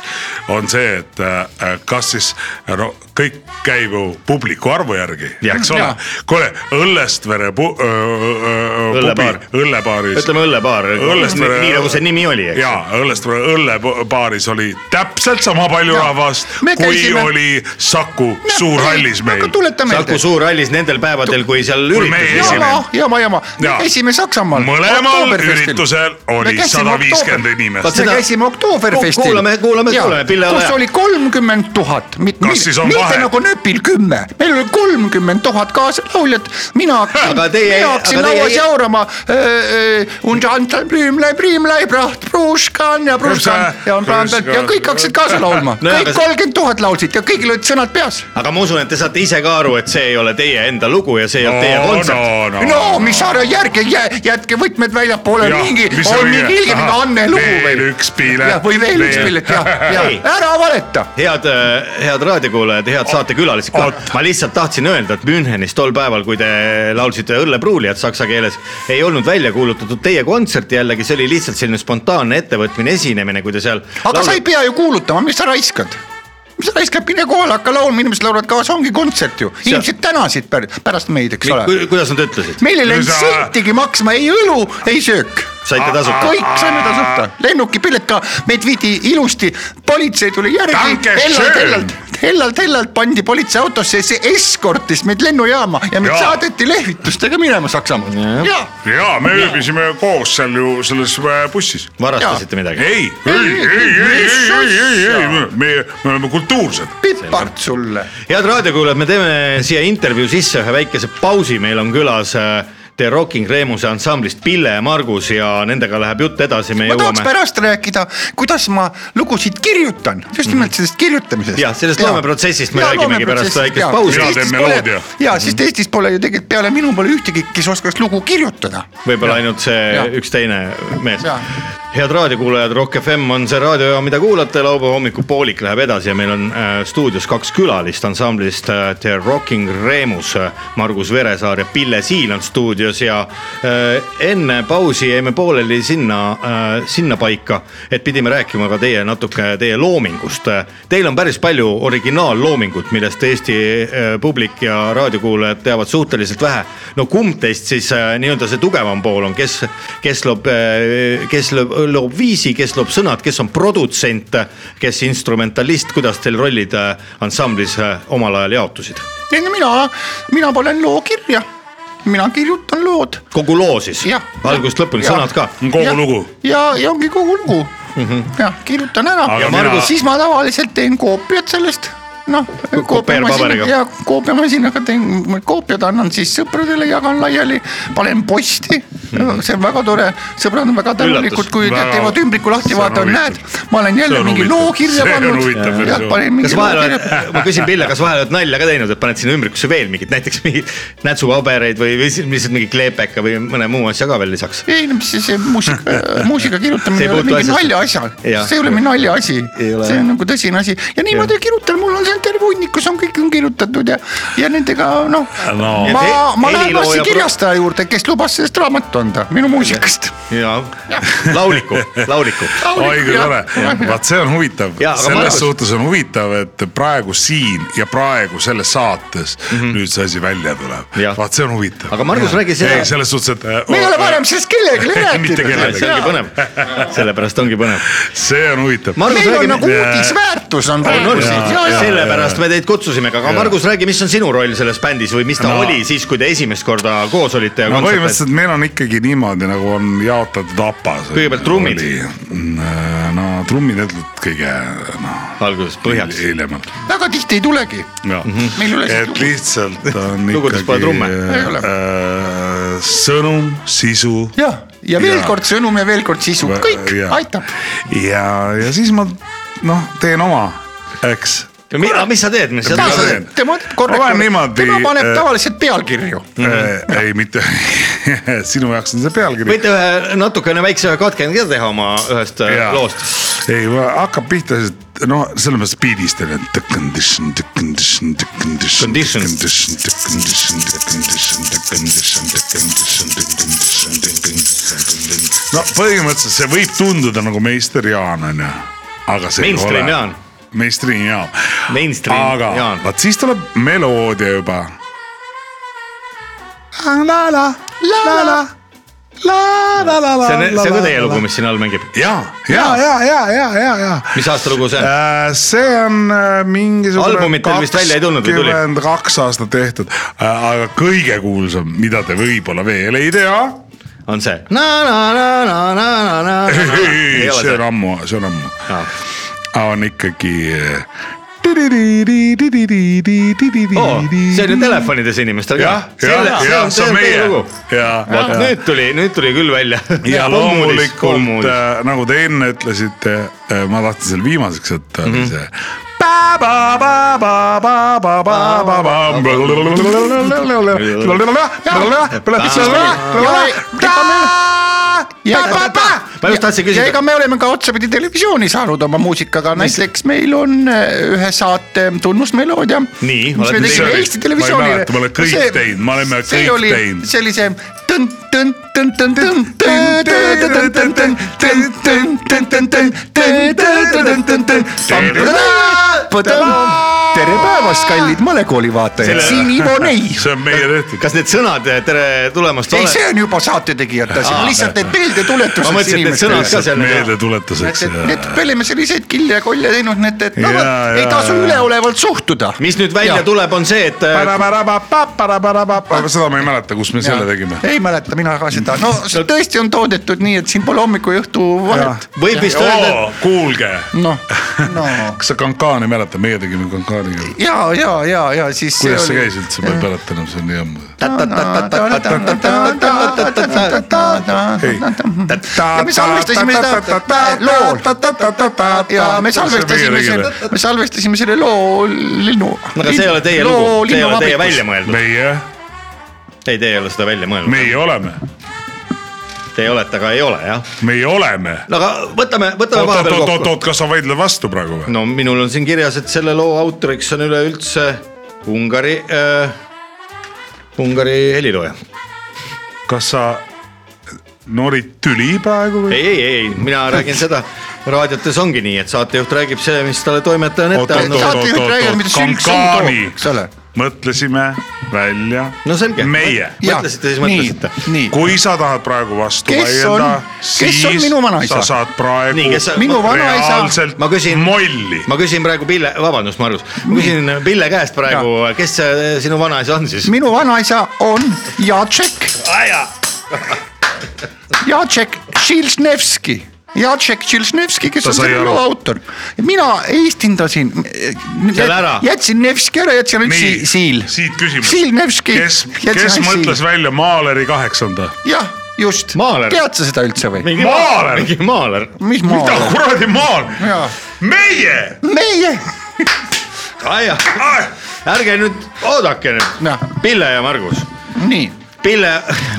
Speaker 4: on see , et äh, kas siis no kõik käib ju publiku arvu järgi ,
Speaker 5: Jah.
Speaker 4: eks ole
Speaker 2: Jaa. .
Speaker 4: kuule , Õllestvere pu- , äh,
Speaker 5: Õllepaar.
Speaker 4: pubi , õllepaaris .
Speaker 5: ütleme õllepaar ,
Speaker 4: Õllestvere-
Speaker 5: nii nagu see nimi oli , eks .
Speaker 4: ja Õllestvere õllepaaris oli täpselt sama palju
Speaker 2: Jaa.
Speaker 4: rahvast ,
Speaker 2: Me
Speaker 4: kui
Speaker 2: käisime-
Speaker 4: oli Saku Suurhallis meil
Speaker 2: aga . tuleta
Speaker 5: Saku
Speaker 2: meelde .
Speaker 5: Suurhallis nendel päevadel , kui seal
Speaker 4: Kui me
Speaker 5: üritus
Speaker 4: esimene-
Speaker 2: jama , jama , jama , me
Speaker 4: Jaa.
Speaker 2: käisime Saksamaal .
Speaker 4: mõlemal üritusel oli sada viiskümmend inimest .
Speaker 5: Vaat
Speaker 2: Vaat me
Speaker 5: seda-
Speaker 2: käisime Oktoberfestil .
Speaker 5: Kuulame- kuulame- kuulame, Pille, ole
Speaker 2: kus
Speaker 5: hea.
Speaker 2: oli kolmkümmend tuhat , mitte
Speaker 4: Kas siis on vahe?
Speaker 2: nagu nööpil kümme , meil oli kolmkümmend tuhat kaaslauljat , mina hakkasin ,
Speaker 5: Aga teie-
Speaker 2: mina hakkasin
Speaker 5: aga teie-
Speaker 2: lauas jaurama . Und Anton Blümlei , Blümlei , Praht , Pruškan ja Pruškan
Speaker 4: Pruškan,
Speaker 2: ja on Brandelt ja kõik hakkasid kaasa laulma ,
Speaker 5: No jaa,
Speaker 2: kõik
Speaker 5: aga-
Speaker 2: kolmkümmend tuhat laulsid ja kõigil olid sõnad peas .
Speaker 5: aga ma usun , et te saate ise ka aru , et see ei ole teie enda lugu ja see ei
Speaker 4: no
Speaker 5: olnud teie kontsert .
Speaker 4: no , no .
Speaker 2: no mis ära järgi , jätke võtmed väljapoole ,
Speaker 4: Jah,
Speaker 2: mingi ,
Speaker 4: mis see
Speaker 2: on
Speaker 4: oli?
Speaker 2: mingi ilge
Speaker 4: Ahah,
Speaker 2: Anne lugu
Speaker 4: veel üks pilet.
Speaker 2: Jah, või veel üks
Speaker 4: Veel.
Speaker 2: pilet , jah ,
Speaker 4: [laughs]
Speaker 2: jah
Speaker 5: Ei. ,
Speaker 2: ära valeta
Speaker 5: head , head raadiokuulajad , head saatekülalised ka
Speaker 4: Ott. .
Speaker 5: ma lihtsalt tahtsin öelda , et Münchenis tol päeval , kui te laulsite õllepruulijat saksa keeles , ei olnud välja kuulutatud teie kontserti jällegi , see oli lihtsalt selline spontaanne ettevõtmine , esinemine , kui te seal .
Speaker 2: aga sa ei pea ju kuulutama , mis sa raiskad ? mis sa raiskad , mine kohale , hakka laulma , inimesed laulavad kaasa , ongi kontsert ju . inimesed tänasid pär- pärast meid , eks ole .
Speaker 5: kuidas nad ütlesid ?
Speaker 2: meil ei läinud
Speaker 4: Sa-
Speaker 2: sentigi maksma ei õlu , ei söök .
Speaker 5: saite tasuta ?
Speaker 2: kõik saime tasuta , lennukipilet ka , meid viidi ilusti , politsei tuli järgi
Speaker 4: Danke ,
Speaker 2: hellalt ,
Speaker 4: schön.
Speaker 2: hellalt , hellalt , hellalt pandi politseiautosse , see eskortis meid lennujaama ja meid
Speaker 4: Jaa.
Speaker 2: saadeti lehvitustega minema Saksamaale . jaa ,
Speaker 4: ja me ööbisime koos seal ju selles äh, bussis
Speaker 5: varastasite midagi ?
Speaker 4: ei , ei , ei , ei , ei , ei , ei , ei , meie , me oleme kultuursed .
Speaker 2: pipart sulle .
Speaker 5: head raadiokuulajad , me teeme siia intervjuu sisse ühe väikese pausi , meil on külas äh, The Rocking Remuse ansamblist Pille ja Margus ja nendega läheb jutt edasi , me
Speaker 2: ma tahaks
Speaker 5: jõuame .
Speaker 2: pärast rääkida , kuidas ma lugusid kirjutan , just nimelt sellest kirjutamisest .
Speaker 5: Mhm. Jah, sellest loomeprotsessist me räägimegi pärast väikest pausi.
Speaker 4: Mina teen meloodia.
Speaker 2: ja sest Eestis pole ju tegelikult peale minu pole ühtegi , kes oskaks lugu kirjutada .
Speaker 5: võib-olla ainult see
Speaker 2: Ja.
Speaker 5: ja. üks teine mees
Speaker 2: Ja. .
Speaker 5: head raadiokuulajad , Rock FM on see raadiojaam , mida kuulate , laupäeva hommikupoolik läheb edasi ja meil on äh, stuudios kaks külalist ansamblist äh, The Rocking Remus . Margus Veresaar ja Pille Siil on stuudios ja äh, enne pausi jäime pooleli sinna äh, , sinnapaika , et pidime rääkima ka teie natuke teie loomingust . Teil on päris palju originaalloomingut , millest Eesti äh, publik ja raadiokuulajad teavad suhteliselt vähe . no kumb teist siis äh, nii-öelda see tugevam pool on , kes , kes loob , kes loob, loob viisi , kes loob sõnad , kes on produtsent , kes instrumentalist , kuidas teil rollid äh, ansamblis äh, omal ajal jaotusid ?
Speaker 2: ei no mina , mina panen loo kirja , mina kirjutan lood .
Speaker 5: kogu loo siis
Speaker 2: Jah. ,
Speaker 5: algusest lõpuni ,
Speaker 2: Jah.
Speaker 5: sõnad ka .
Speaker 4: kogu lugu .
Speaker 2: ja , ja ongi kogu lugu mm -hmm. jah , kirjutan ära
Speaker 4: Aga
Speaker 2: ja
Speaker 4: mina-
Speaker 2: Margus... siis ma tavaliselt teen koopiat sellest , noh .
Speaker 5: kopeerpaberiga.
Speaker 2: ja koopiamasinaga teen koopiad , annan siis sõpradele , jagan laiali , panen posti mm . -hmm. see on väga tore , sõbrad on väga tänulikud , kui
Speaker 4: Mhm. Väga-
Speaker 2: väga... teevad ümbriku lahti ,
Speaker 4: see on
Speaker 2: vaatavad , näed
Speaker 4: huvitav. ,
Speaker 2: ma olen jälle
Speaker 4: See on
Speaker 2: mingi
Speaker 4: huvitav.
Speaker 2: loo kirja
Speaker 4: See on huvitav
Speaker 2: pannud . jah
Speaker 4: versioon. ,
Speaker 2: panen
Speaker 5: kas
Speaker 2: mingi loo
Speaker 5: vahel
Speaker 2: kirja
Speaker 5: oled , ma küsin Pille , kas vahel oled nalja ka teinud , et paned sinna ümbrikusse veel mingit , näiteks mingit nätsupabereid või , või siis lihtsalt mingi kleepeka või mõne muu asja ka veel lisaks ?
Speaker 2: ei no mis see , see muusika ,
Speaker 5: [laughs]
Speaker 2: muusika kirjutamine
Speaker 5: See
Speaker 2: ei
Speaker 5: ei
Speaker 2: ole
Speaker 5: puutu
Speaker 2: mingi
Speaker 5: asjasse.
Speaker 2: naljaasi ,
Speaker 5: Jah.
Speaker 2: see ei ole mingi naljaasi ,
Speaker 5: Ei ole,
Speaker 2: see
Speaker 5: jah.
Speaker 2: on nagu tõsine asi ja niimoodi kirjutan , mul on seal terve hunnik , kus on kõik on kirjutatud ja , ja nendega noh
Speaker 4: No.
Speaker 2: no. , ma
Speaker 5: Et ,
Speaker 2: ma
Speaker 5: he-
Speaker 2: lähen
Speaker 5: helilooja
Speaker 2: varsti
Speaker 5: pro-
Speaker 2: kirjastaja juurde , kes lubas sellest raamatut anda , minu muusikast .
Speaker 5: ja [laughs] lauliku , lauliku .
Speaker 4: oi kui tore , vaat see on huvitav ,
Speaker 5: Jaa, aga
Speaker 4: selles
Speaker 5: Margus-
Speaker 4: suhtes on huvitav , et praegu siin ja praegu selles saates mm -hmm. nüüd see asi välja tuleb
Speaker 5: Mhm. Jah. .
Speaker 4: vaat see on huvitav .
Speaker 5: Aga Margus, räägi sina-
Speaker 4: ei , selles suhtes , et . äh, oh,
Speaker 2: me
Speaker 5: Oh,
Speaker 2: ei ole varem sellest kellelegi
Speaker 5: [laughs]
Speaker 4: mitte
Speaker 2: rääkinud .
Speaker 5: see ongi
Speaker 4: kellelegi ,
Speaker 5: põnev , sellepärast ongi põnev .
Speaker 4: oh, see on huvitav .
Speaker 5: Margus ,
Speaker 2: meil
Speaker 5: räägi
Speaker 2: on nagu
Speaker 5: nagu... ,
Speaker 2: uudisväärtus on praegu siin .
Speaker 5: sellepärast me teid kutsusime , aga Margus , räägi , mis on sinu roll selles bändis või mis ta no.
Speaker 4: No.
Speaker 5: oli siis , kui te esimest korda koos olite ja
Speaker 4: no
Speaker 5: kontsertis ?
Speaker 4: põhimõtteliselt meil on ikkagi niimoodi , nagu on jaotatud APA-s .
Speaker 5: Kõigepealt trummid. .
Speaker 4: äh, no trummid jätnud kõige noh ,
Speaker 5: alguses põhjaks .
Speaker 4: hiljemalt .
Speaker 2: väga tihti ei tulegi .
Speaker 5: Mhm.
Speaker 2: Meil ei ole siis
Speaker 4: Mhm. et
Speaker 2: lugu.
Speaker 4: lihtsalt on
Speaker 5: Lugudes pole
Speaker 4: ikkagi
Speaker 5: trumme.
Speaker 2: Ei ole.
Speaker 4: äh, sõnum , sisu
Speaker 2: jah , ja veel
Speaker 4: Jaa.
Speaker 2: kord sõnum ja veel kord sisu , kõik
Speaker 4: Jaa.
Speaker 2: aitab .
Speaker 4: ja , ja siis ma noh , teen oma , eks .
Speaker 5: mis sa teed , mis sa
Speaker 4: Mis sa
Speaker 5: teed ?
Speaker 4: teen?
Speaker 2: tema teeb korra
Speaker 4: Olen , niimoodi,
Speaker 2: tema paneb
Speaker 4: äh,
Speaker 2: tavaliselt pealkirju
Speaker 4: ei , mitte [laughs] sinu jaoks on see pealkiri .
Speaker 5: Mhm. võite ühe natukene väikse katkendi ka teha oma ühest äh, loost .
Speaker 4: ei , hakkab pihta , noh , selles mõttes beat'ist on ju . Condition , condition , condition ,
Speaker 5: Condition.
Speaker 4: condition , condition , condition , condition , condition , condition . no põhimõtteliselt see võib tunduda nagu meister Jaan on ju , aga see ei
Speaker 5: Mainstream
Speaker 4: ole
Speaker 5: Jaan. .
Speaker 4: meistriin Jaan .
Speaker 5: Mainstream
Speaker 4: aga
Speaker 5: Jaan.
Speaker 4: vaat siis tuleb meloodia juba
Speaker 5: see on , see on ka teie lugu , mis siin all mängib .
Speaker 4: ja , ja , ja , ja , ja , ja , ja .
Speaker 5: mis aasta lugu see on ?
Speaker 4: see on äh, mingisugune .
Speaker 5: Albumit teil vist välja ei tulnud või tuli?
Speaker 4: kaks aastat tehtud , aga kõige kuulsam , mida te võib-olla veel ei tea .
Speaker 5: on see ?
Speaker 4: [laughs]
Speaker 5: ei ole
Speaker 4: see
Speaker 5: see
Speaker 4: on . ammu , see on ammu , on ikkagi .
Speaker 5: oo , see on ju telefonides inimestel ka
Speaker 4: jah ,. jah , jah , see on meie . ja
Speaker 5: vot , nüüd tuli , nüüd tuli küll välja . [laughs]
Speaker 4: ja loomulikult äh, nagu te enne ütlesite äh, , ma tahtsin selle viimaseks võtta mm , -hmm. see .
Speaker 5: ma just tahtsin küsida-
Speaker 2: ja ega me oleme ka otsapidi televisiooni saanud oma muusikaga , näiteks meil on äh, ühe saate tunnusmeloodia .
Speaker 5: Nii,
Speaker 2: mis
Speaker 5: olete
Speaker 2: me
Speaker 4: teinud?
Speaker 2: tegime Eesti
Speaker 4: Ma ei mäleta, me oleme kõik . teinud, me oleme
Speaker 2: Televisioonile
Speaker 4: kõik teinud.
Speaker 2: sellise tõn- , tõn- , tõn- , tõn- , tõn- , tõn- , tõn- , tõn- , tõn- , tõn- , tõn- , tõn- , tõn- , tõn- , tõn- , tõn- , tõn- , tõn- , tõn- , tõn- , tere päevast , kallid malekooli vaatajad ,
Speaker 5: Selle-
Speaker 2: siin Ivo Nei .
Speaker 4: see on meie tehtud .
Speaker 5: kas need sõnad , tere tulemast .
Speaker 2: ei , see on juba saatetegijate asi , lihtsalt need meeldetuletused .
Speaker 5: ma mõtlesin , et need sõnad ka seal .
Speaker 4: meeldetuletuseks .
Speaker 2: Need , me oleme selliseid kille ja kolje teinud , nii et , et no
Speaker 4: Jaa,
Speaker 2: vot, ei
Speaker 4: jaa,
Speaker 2: tasu
Speaker 4: jaa.
Speaker 2: üleolevalt suhtuda .
Speaker 5: mis nüüd välja
Speaker 2: Jaa.
Speaker 5: tuleb , on see , et äh,
Speaker 4: seda ma ei mäleta , kus me selle tegime .
Speaker 2: ei mäleta mina ka seda , no see tõesti on toodetud nii , et siin pole hommiku ja õhtu vahet .
Speaker 5: võib vist öelda ,
Speaker 4: kuulge ,
Speaker 2: noh , no
Speaker 4: kas sa Kankaani mäletad , meie tegime Kankaani . plaani all .
Speaker 2: ja , ja , ja , ja siis .
Speaker 4: kuidas see käis üldse , ma ei mäleta enam , see on nii ammu . Ei.
Speaker 2: ja me salvestasime seda lool ja me salvestasime selle , me salvestasime selle loo linnu .
Speaker 5: aga see ei ole teie lugu , see ei ole teie välja mõeldud .
Speaker 4: meie ,
Speaker 5: ei , te ei ole seda välja mõelnud .
Speaker 4: meie oleme ,
Speaker 5: Te olete , aga ei ole jah .
Speaker 4: meie oleme .
Speaker 5: no aga võtame , võtame
Speaker 4: oot ,
Speaker 5: vahepeal
Speaker 4: oot , oot ,
Speaker 5: kokku .
Speaker 4: oot , kas sa vaidled vastu praegu või ?
Speaker 5: no minul on siin kirjas , et selle loo autoriks on üleüldse Ungari äh, , Ungari helilooja .
Speaker 4: kas sa noorid tüli praegu või ?
Speaker 5: ei , ei , ei , mina räägin seda , raadiotes ongi nii , et saatejuht räägib see , mis talle toimetaja on ette
Speaker 4: Oot, oot,
Speaker 5: andnud .
Speaker 2: saatejuht räägib , mida sülg suhu toob ,
Speaker 4: Kankani.
Speaker 2: eks ole .
Speaker 4: mõtlesime välja
Speaker 5: no selge .
Speaker 4: meie .
Speaker 5: mõtlesite , siis mõtlesite .
Speaker 2: nii ,
Speaker 4: kui sa tahad praegu vastu
Speaker 2: Kes
Speaker 4: vaielda
Speaker 2: on- , kes on
Speaker 4: siis
Speaker 2: minu vanaisa?
Speaker 4: sa saad praegu
Speaker 5: Nii, kes sa-
Speaker 2: minu vanaisa ,
Speaker 4: reaalselt
Speaker 5: ma küsin-
Speaker 4: molli .
Speaker 5: ma küsin praegu Pille , vabandust , Margus , ma küsin Pille käest praegu , kes see sinu vanaisa on siis ?
Speaker 2: minu vanaisa on Jacek , Jacek Tšilžnevski . Jacek Tšilžnevski , kes
Speaker 4: Ta
Speaker 2: on
Speaker 4: sai
Speaker 2: selle
Speaker 4: aru.
Speaker 2: loo autor . mina eestindasin .
Speaker 5: Selle ära.
Speaker 2: jätsin Nevski ära , jätsin ainult Si- Siil .
Speaker 4: siit küsimus .
Speaker 2: Siil Nevski .
Speaker 4: kes , kes mõtles ? välja Maaleri kaheksanda ?
Speaker 2: jah , just .
Speaker 5: Maaler.
Speaker 2: tead sa seda üldse või ?
Speaker 5: mingi
Speaker 4: Maaler!
Speaker 5: mingi maaler .
Speaker 2: mis
Speaker 4: mida
Speaker 2: maaler ?
Speaker 4: Ah, kuradi maal ?
Speaker 2: Jaa.
Speaker 4: meie ,
Speaker 2: meie ,
Speaker 5: ärge nüüd oodake nüüd
Speaker 2: Jah. ,
Speaker 5: Pille ja Margus ,
Speaker 2: Noh, nii ,
Speaker 5: Pille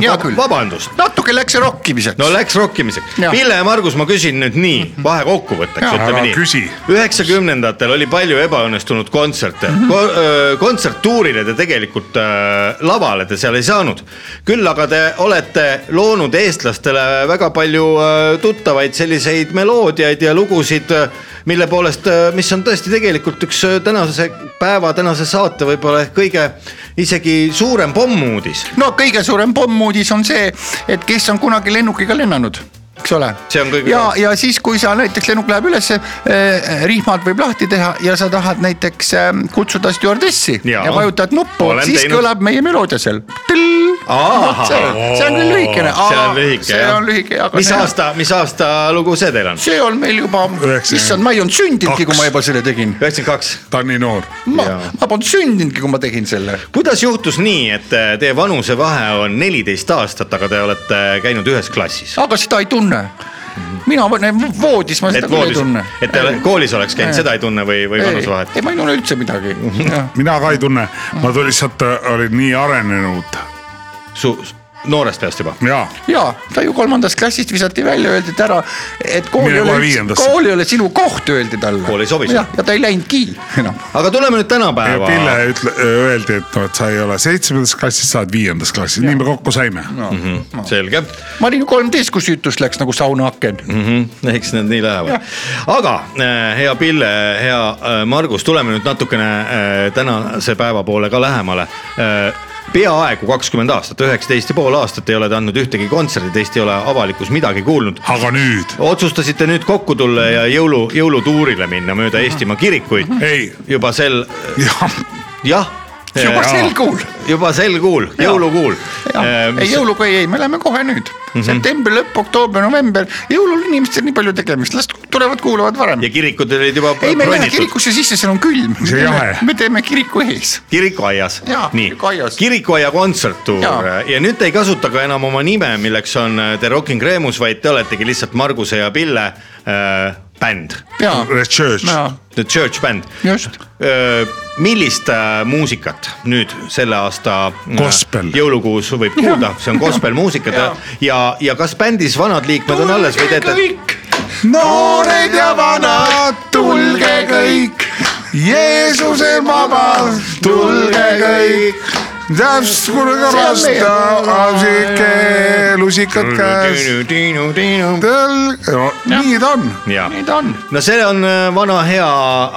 Speaker 2: Hea , küll.
Speaker 5: vabandust .
Speaker 2: natuke läks rokkimiseks
Speaker 5: no läks rokkimiseks
Speaker 2: Jah. .
Speaker 5: Pille ja Margus , ma küsin nüüd nii , vahekokkuvõtteks ,
Speaker 2: Jah.
Speaker 5: ütleme
Speaker 4: Ära küsi.
Speaker 5: nii . üheksakümnendatel oli palju ebaõnnestunud kontserte Ko . öö, kontserttuurile te tegelikult öö, lavale te seal ei saanud . küll aga te olete loonud eestlastele väga palju öö, tuttavaid selliseid meloodiaid ja lugusid , mille poolest , mis on tõesti tegelikult üks öö, tänase päeva , tänase saate võib-olla ehk kõige isegi suurem pommuudis .
Speaker 2: no kõige suurem pommuudis on see , et kes on kunagi lennukiga lennanud , eks ole .
Speaker 5: See on kõige
Speaker 2: ja
Speaker 5: suurem. ,
Speaker 2: ja siis , kui sa näiteks lennuk läheb ülesse , rihmad võib lahti teha ja sa tahad näiteks eh, kutsuda stjuardessi ja,
Speaker 5: Jaa.
Speaker 2: ja vajutad nuppu
Speaker 5: Olen ,
Speaker 2: siis
Speaker 5: teinud.
Speaker 2: teinud. kõlab meie meloodia seal .
Speaker 5: Ahah.
Speaker 2: see see on küll lühikene .
Speaker 5: see on lühike
Speaker 2: see on lühike , aga .
Speaker 5: mis aasta , mis aasta lugu see teil on ?
Speaker 2: see on meil juba ,
Speaker 4: Üheksakümmend
Speaker 2: issand , ma ei olnud sündinudki , kui ma juba selle tegin .
Speaker 5: üheksakümmend kaks .
Speaker 4: Tanni Noor .
Speaker 2: ma
Speaker 5: Jaa. ,
Speaker 2: ma polnud sündinudki , kui ma tegin selle .
Speaker 5: kuidas juhtus nii , et eh, teie vanusevahe on neliteist aastat , aga te olete äh, käinud ühes klassis ?
Speaker 2: aga seda ei tunne . mina voodis ma seda
Speaker 5: et
Speaker 2: küll ei
Speaker 5: voodis
Speaker 2: tunne ,.
Speaker 5: et te ole- koolis oleks käinud ,
Speaker 2: Ei.
Speaker 5: seda ei tunne või , või vanusevahet ?
Speaker 2: ei , ma ei tunne üldse midagi .
Speaker 4: mina ka ei tunne , ma tol- lihtsalt äh, olin nii arenenud
Speaker 5: su , noorest peast juba ?
Speaker 4: ja
Speaker 2: ja ta ju kolmandast klassist visati välja , öeldi et ära , et kool
Speaker 4: Mine
Speaker 2: ei ole
Speaker 4: kohe
Speaker 2: üldse ,
Speaker 4: viiendasse.
Speaker 2: kool ei ole sinu koht , öeldi talle .
Speaker 5: Kool ei sobi sulle.
Speaker 2: ja , ja ta ei läinudki
Speaker 4: Noh.
Speaker 2: enam .
Speaker 5: aga tuleme nüüd
Speaker 4: ja
Speaker 5: tänapäeva .
Speaker 4: Pille ütle , öeldi , et noh , et sa ei ole seitsmendas klassis , sa oled viiendas klassis , nii me kokku saime Mhm. no. .
Speaker 5: selge ,
Speaker 2: ma olin ju kolmteist , kui süütus läks nagu saunaaken .
Speaker 4: Mhm.
Speaker 5: [laughs] eks need nii lähevad . aga eh, hea Pille , hea eh, Margus , tuleme nüüd natukene eh, tänase päeva poole ka lähemale Äh, peaaegu kakskümmend aastat , üheksateist ja pool aastat ei ole te andnud ühtegi kontserti , teist ei ole avalikkus midagi kuulnud .
Speaker 4: aga nüüd , [laughs]
Speaker 5: otsustasite nüüd kokku tulla ja jõulu , jõulutuurile minna mööda Eestimaa kirikuid
Speaker 4: ei ,
Speaker 5: juba sel ,
Speaker 4: jah ,
Speaker 5: jah .
Speaker 2: juba sel kuul .
Speaker 5: juba sel kuul , jõulukuul . Äh,
Speaker 2: ei jõuluga ei , ei , me läheme kohe nüüd mm . -hmm.
Speaker 4: Mhm.
Speaker 2: september , lõpp , oktoober , november , jõulul inimestel nii palju tegemist , las tulevad , kuulavad varem .
Speaker 5: ja kirikud olid juba
Speaker 2: ei , me ei lähe
Speaker 5: bronnitud ,
Speaker 2: kirikusse sisse , seal on külm .
Speaker 4: See jahe.
Speaker 2: me teeme kiriku ees .
Speaker 5: kirikuaias
Speaker 2: Jaa, .
Speaker 5: nii
Speaker 2: kirikuaias. ,
Speaker 5: kirikuaia kontserttuur
Speaker 2: Jaa.
Speaker 5: ja nüüd te ei kasuta ka enam oma nime , milleks on äh, The Rocking Remus , vaid te oletegi lihtsalt Marguse ja Pille äh, bänd .
Speaker 2: ja ,
Speaker 4: The Church
Speaker 2: ja ,
Speaker 5: The Church Band .
Speaker 2: just .
Speaker 5: millist äh, muusikat nüüd selle aasta äh,
Speaker 4: Gospel.
Speaker 5: jõulukuus võib kuulda , see on gospel muusikat ja , ja, ja kas bändis vanad liikmed on alles või teete ?
Speaker 2: kõik , noored ja vanad , tulge kõik , Jeesus on vaba , tulge kõik .
Speaker 4: täpsusega vasta asike , lusikad käes . nii ta on .
Speaker 5: ja
Speaker 2: nii ta Äh, on .
Speaker 5: no see on äh, vana hea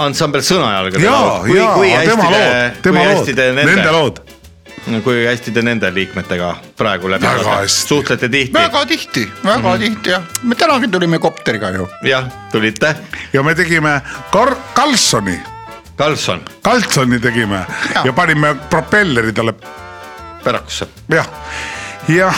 Speaker 5: ansambel Sõnajalg .
Speaker 4: ja , ja , tema lood , tema lood
Speaker 5: hästi , te
Speaker 4: nende
Speaker 5: nende ,
Speaker 4: lood .
Speaker 5: kui hästi te nende liikmetega praegu läbi
Speaker 4: Väga
Speaker 5: saate?
Speaker 4: hästi.
Speaker 5: suhtlete tihti
Speaker 2: väga tihti , väga mm -hmm. tihti jah , me tänagi tulime kopteriga ju .
Speaker 5: jah , tulite ,
Speaker 4: ja me tegime Kar- , Karlssoni ,
Speaker 5: Karlsson
Speaker 4: Karlssoni tegime ja,
Speaker 2: Jaa.
Speaker 4: ja panime propelleri talle
Speaker 5: Pärakusse .
Speaker 4: jah , jah ,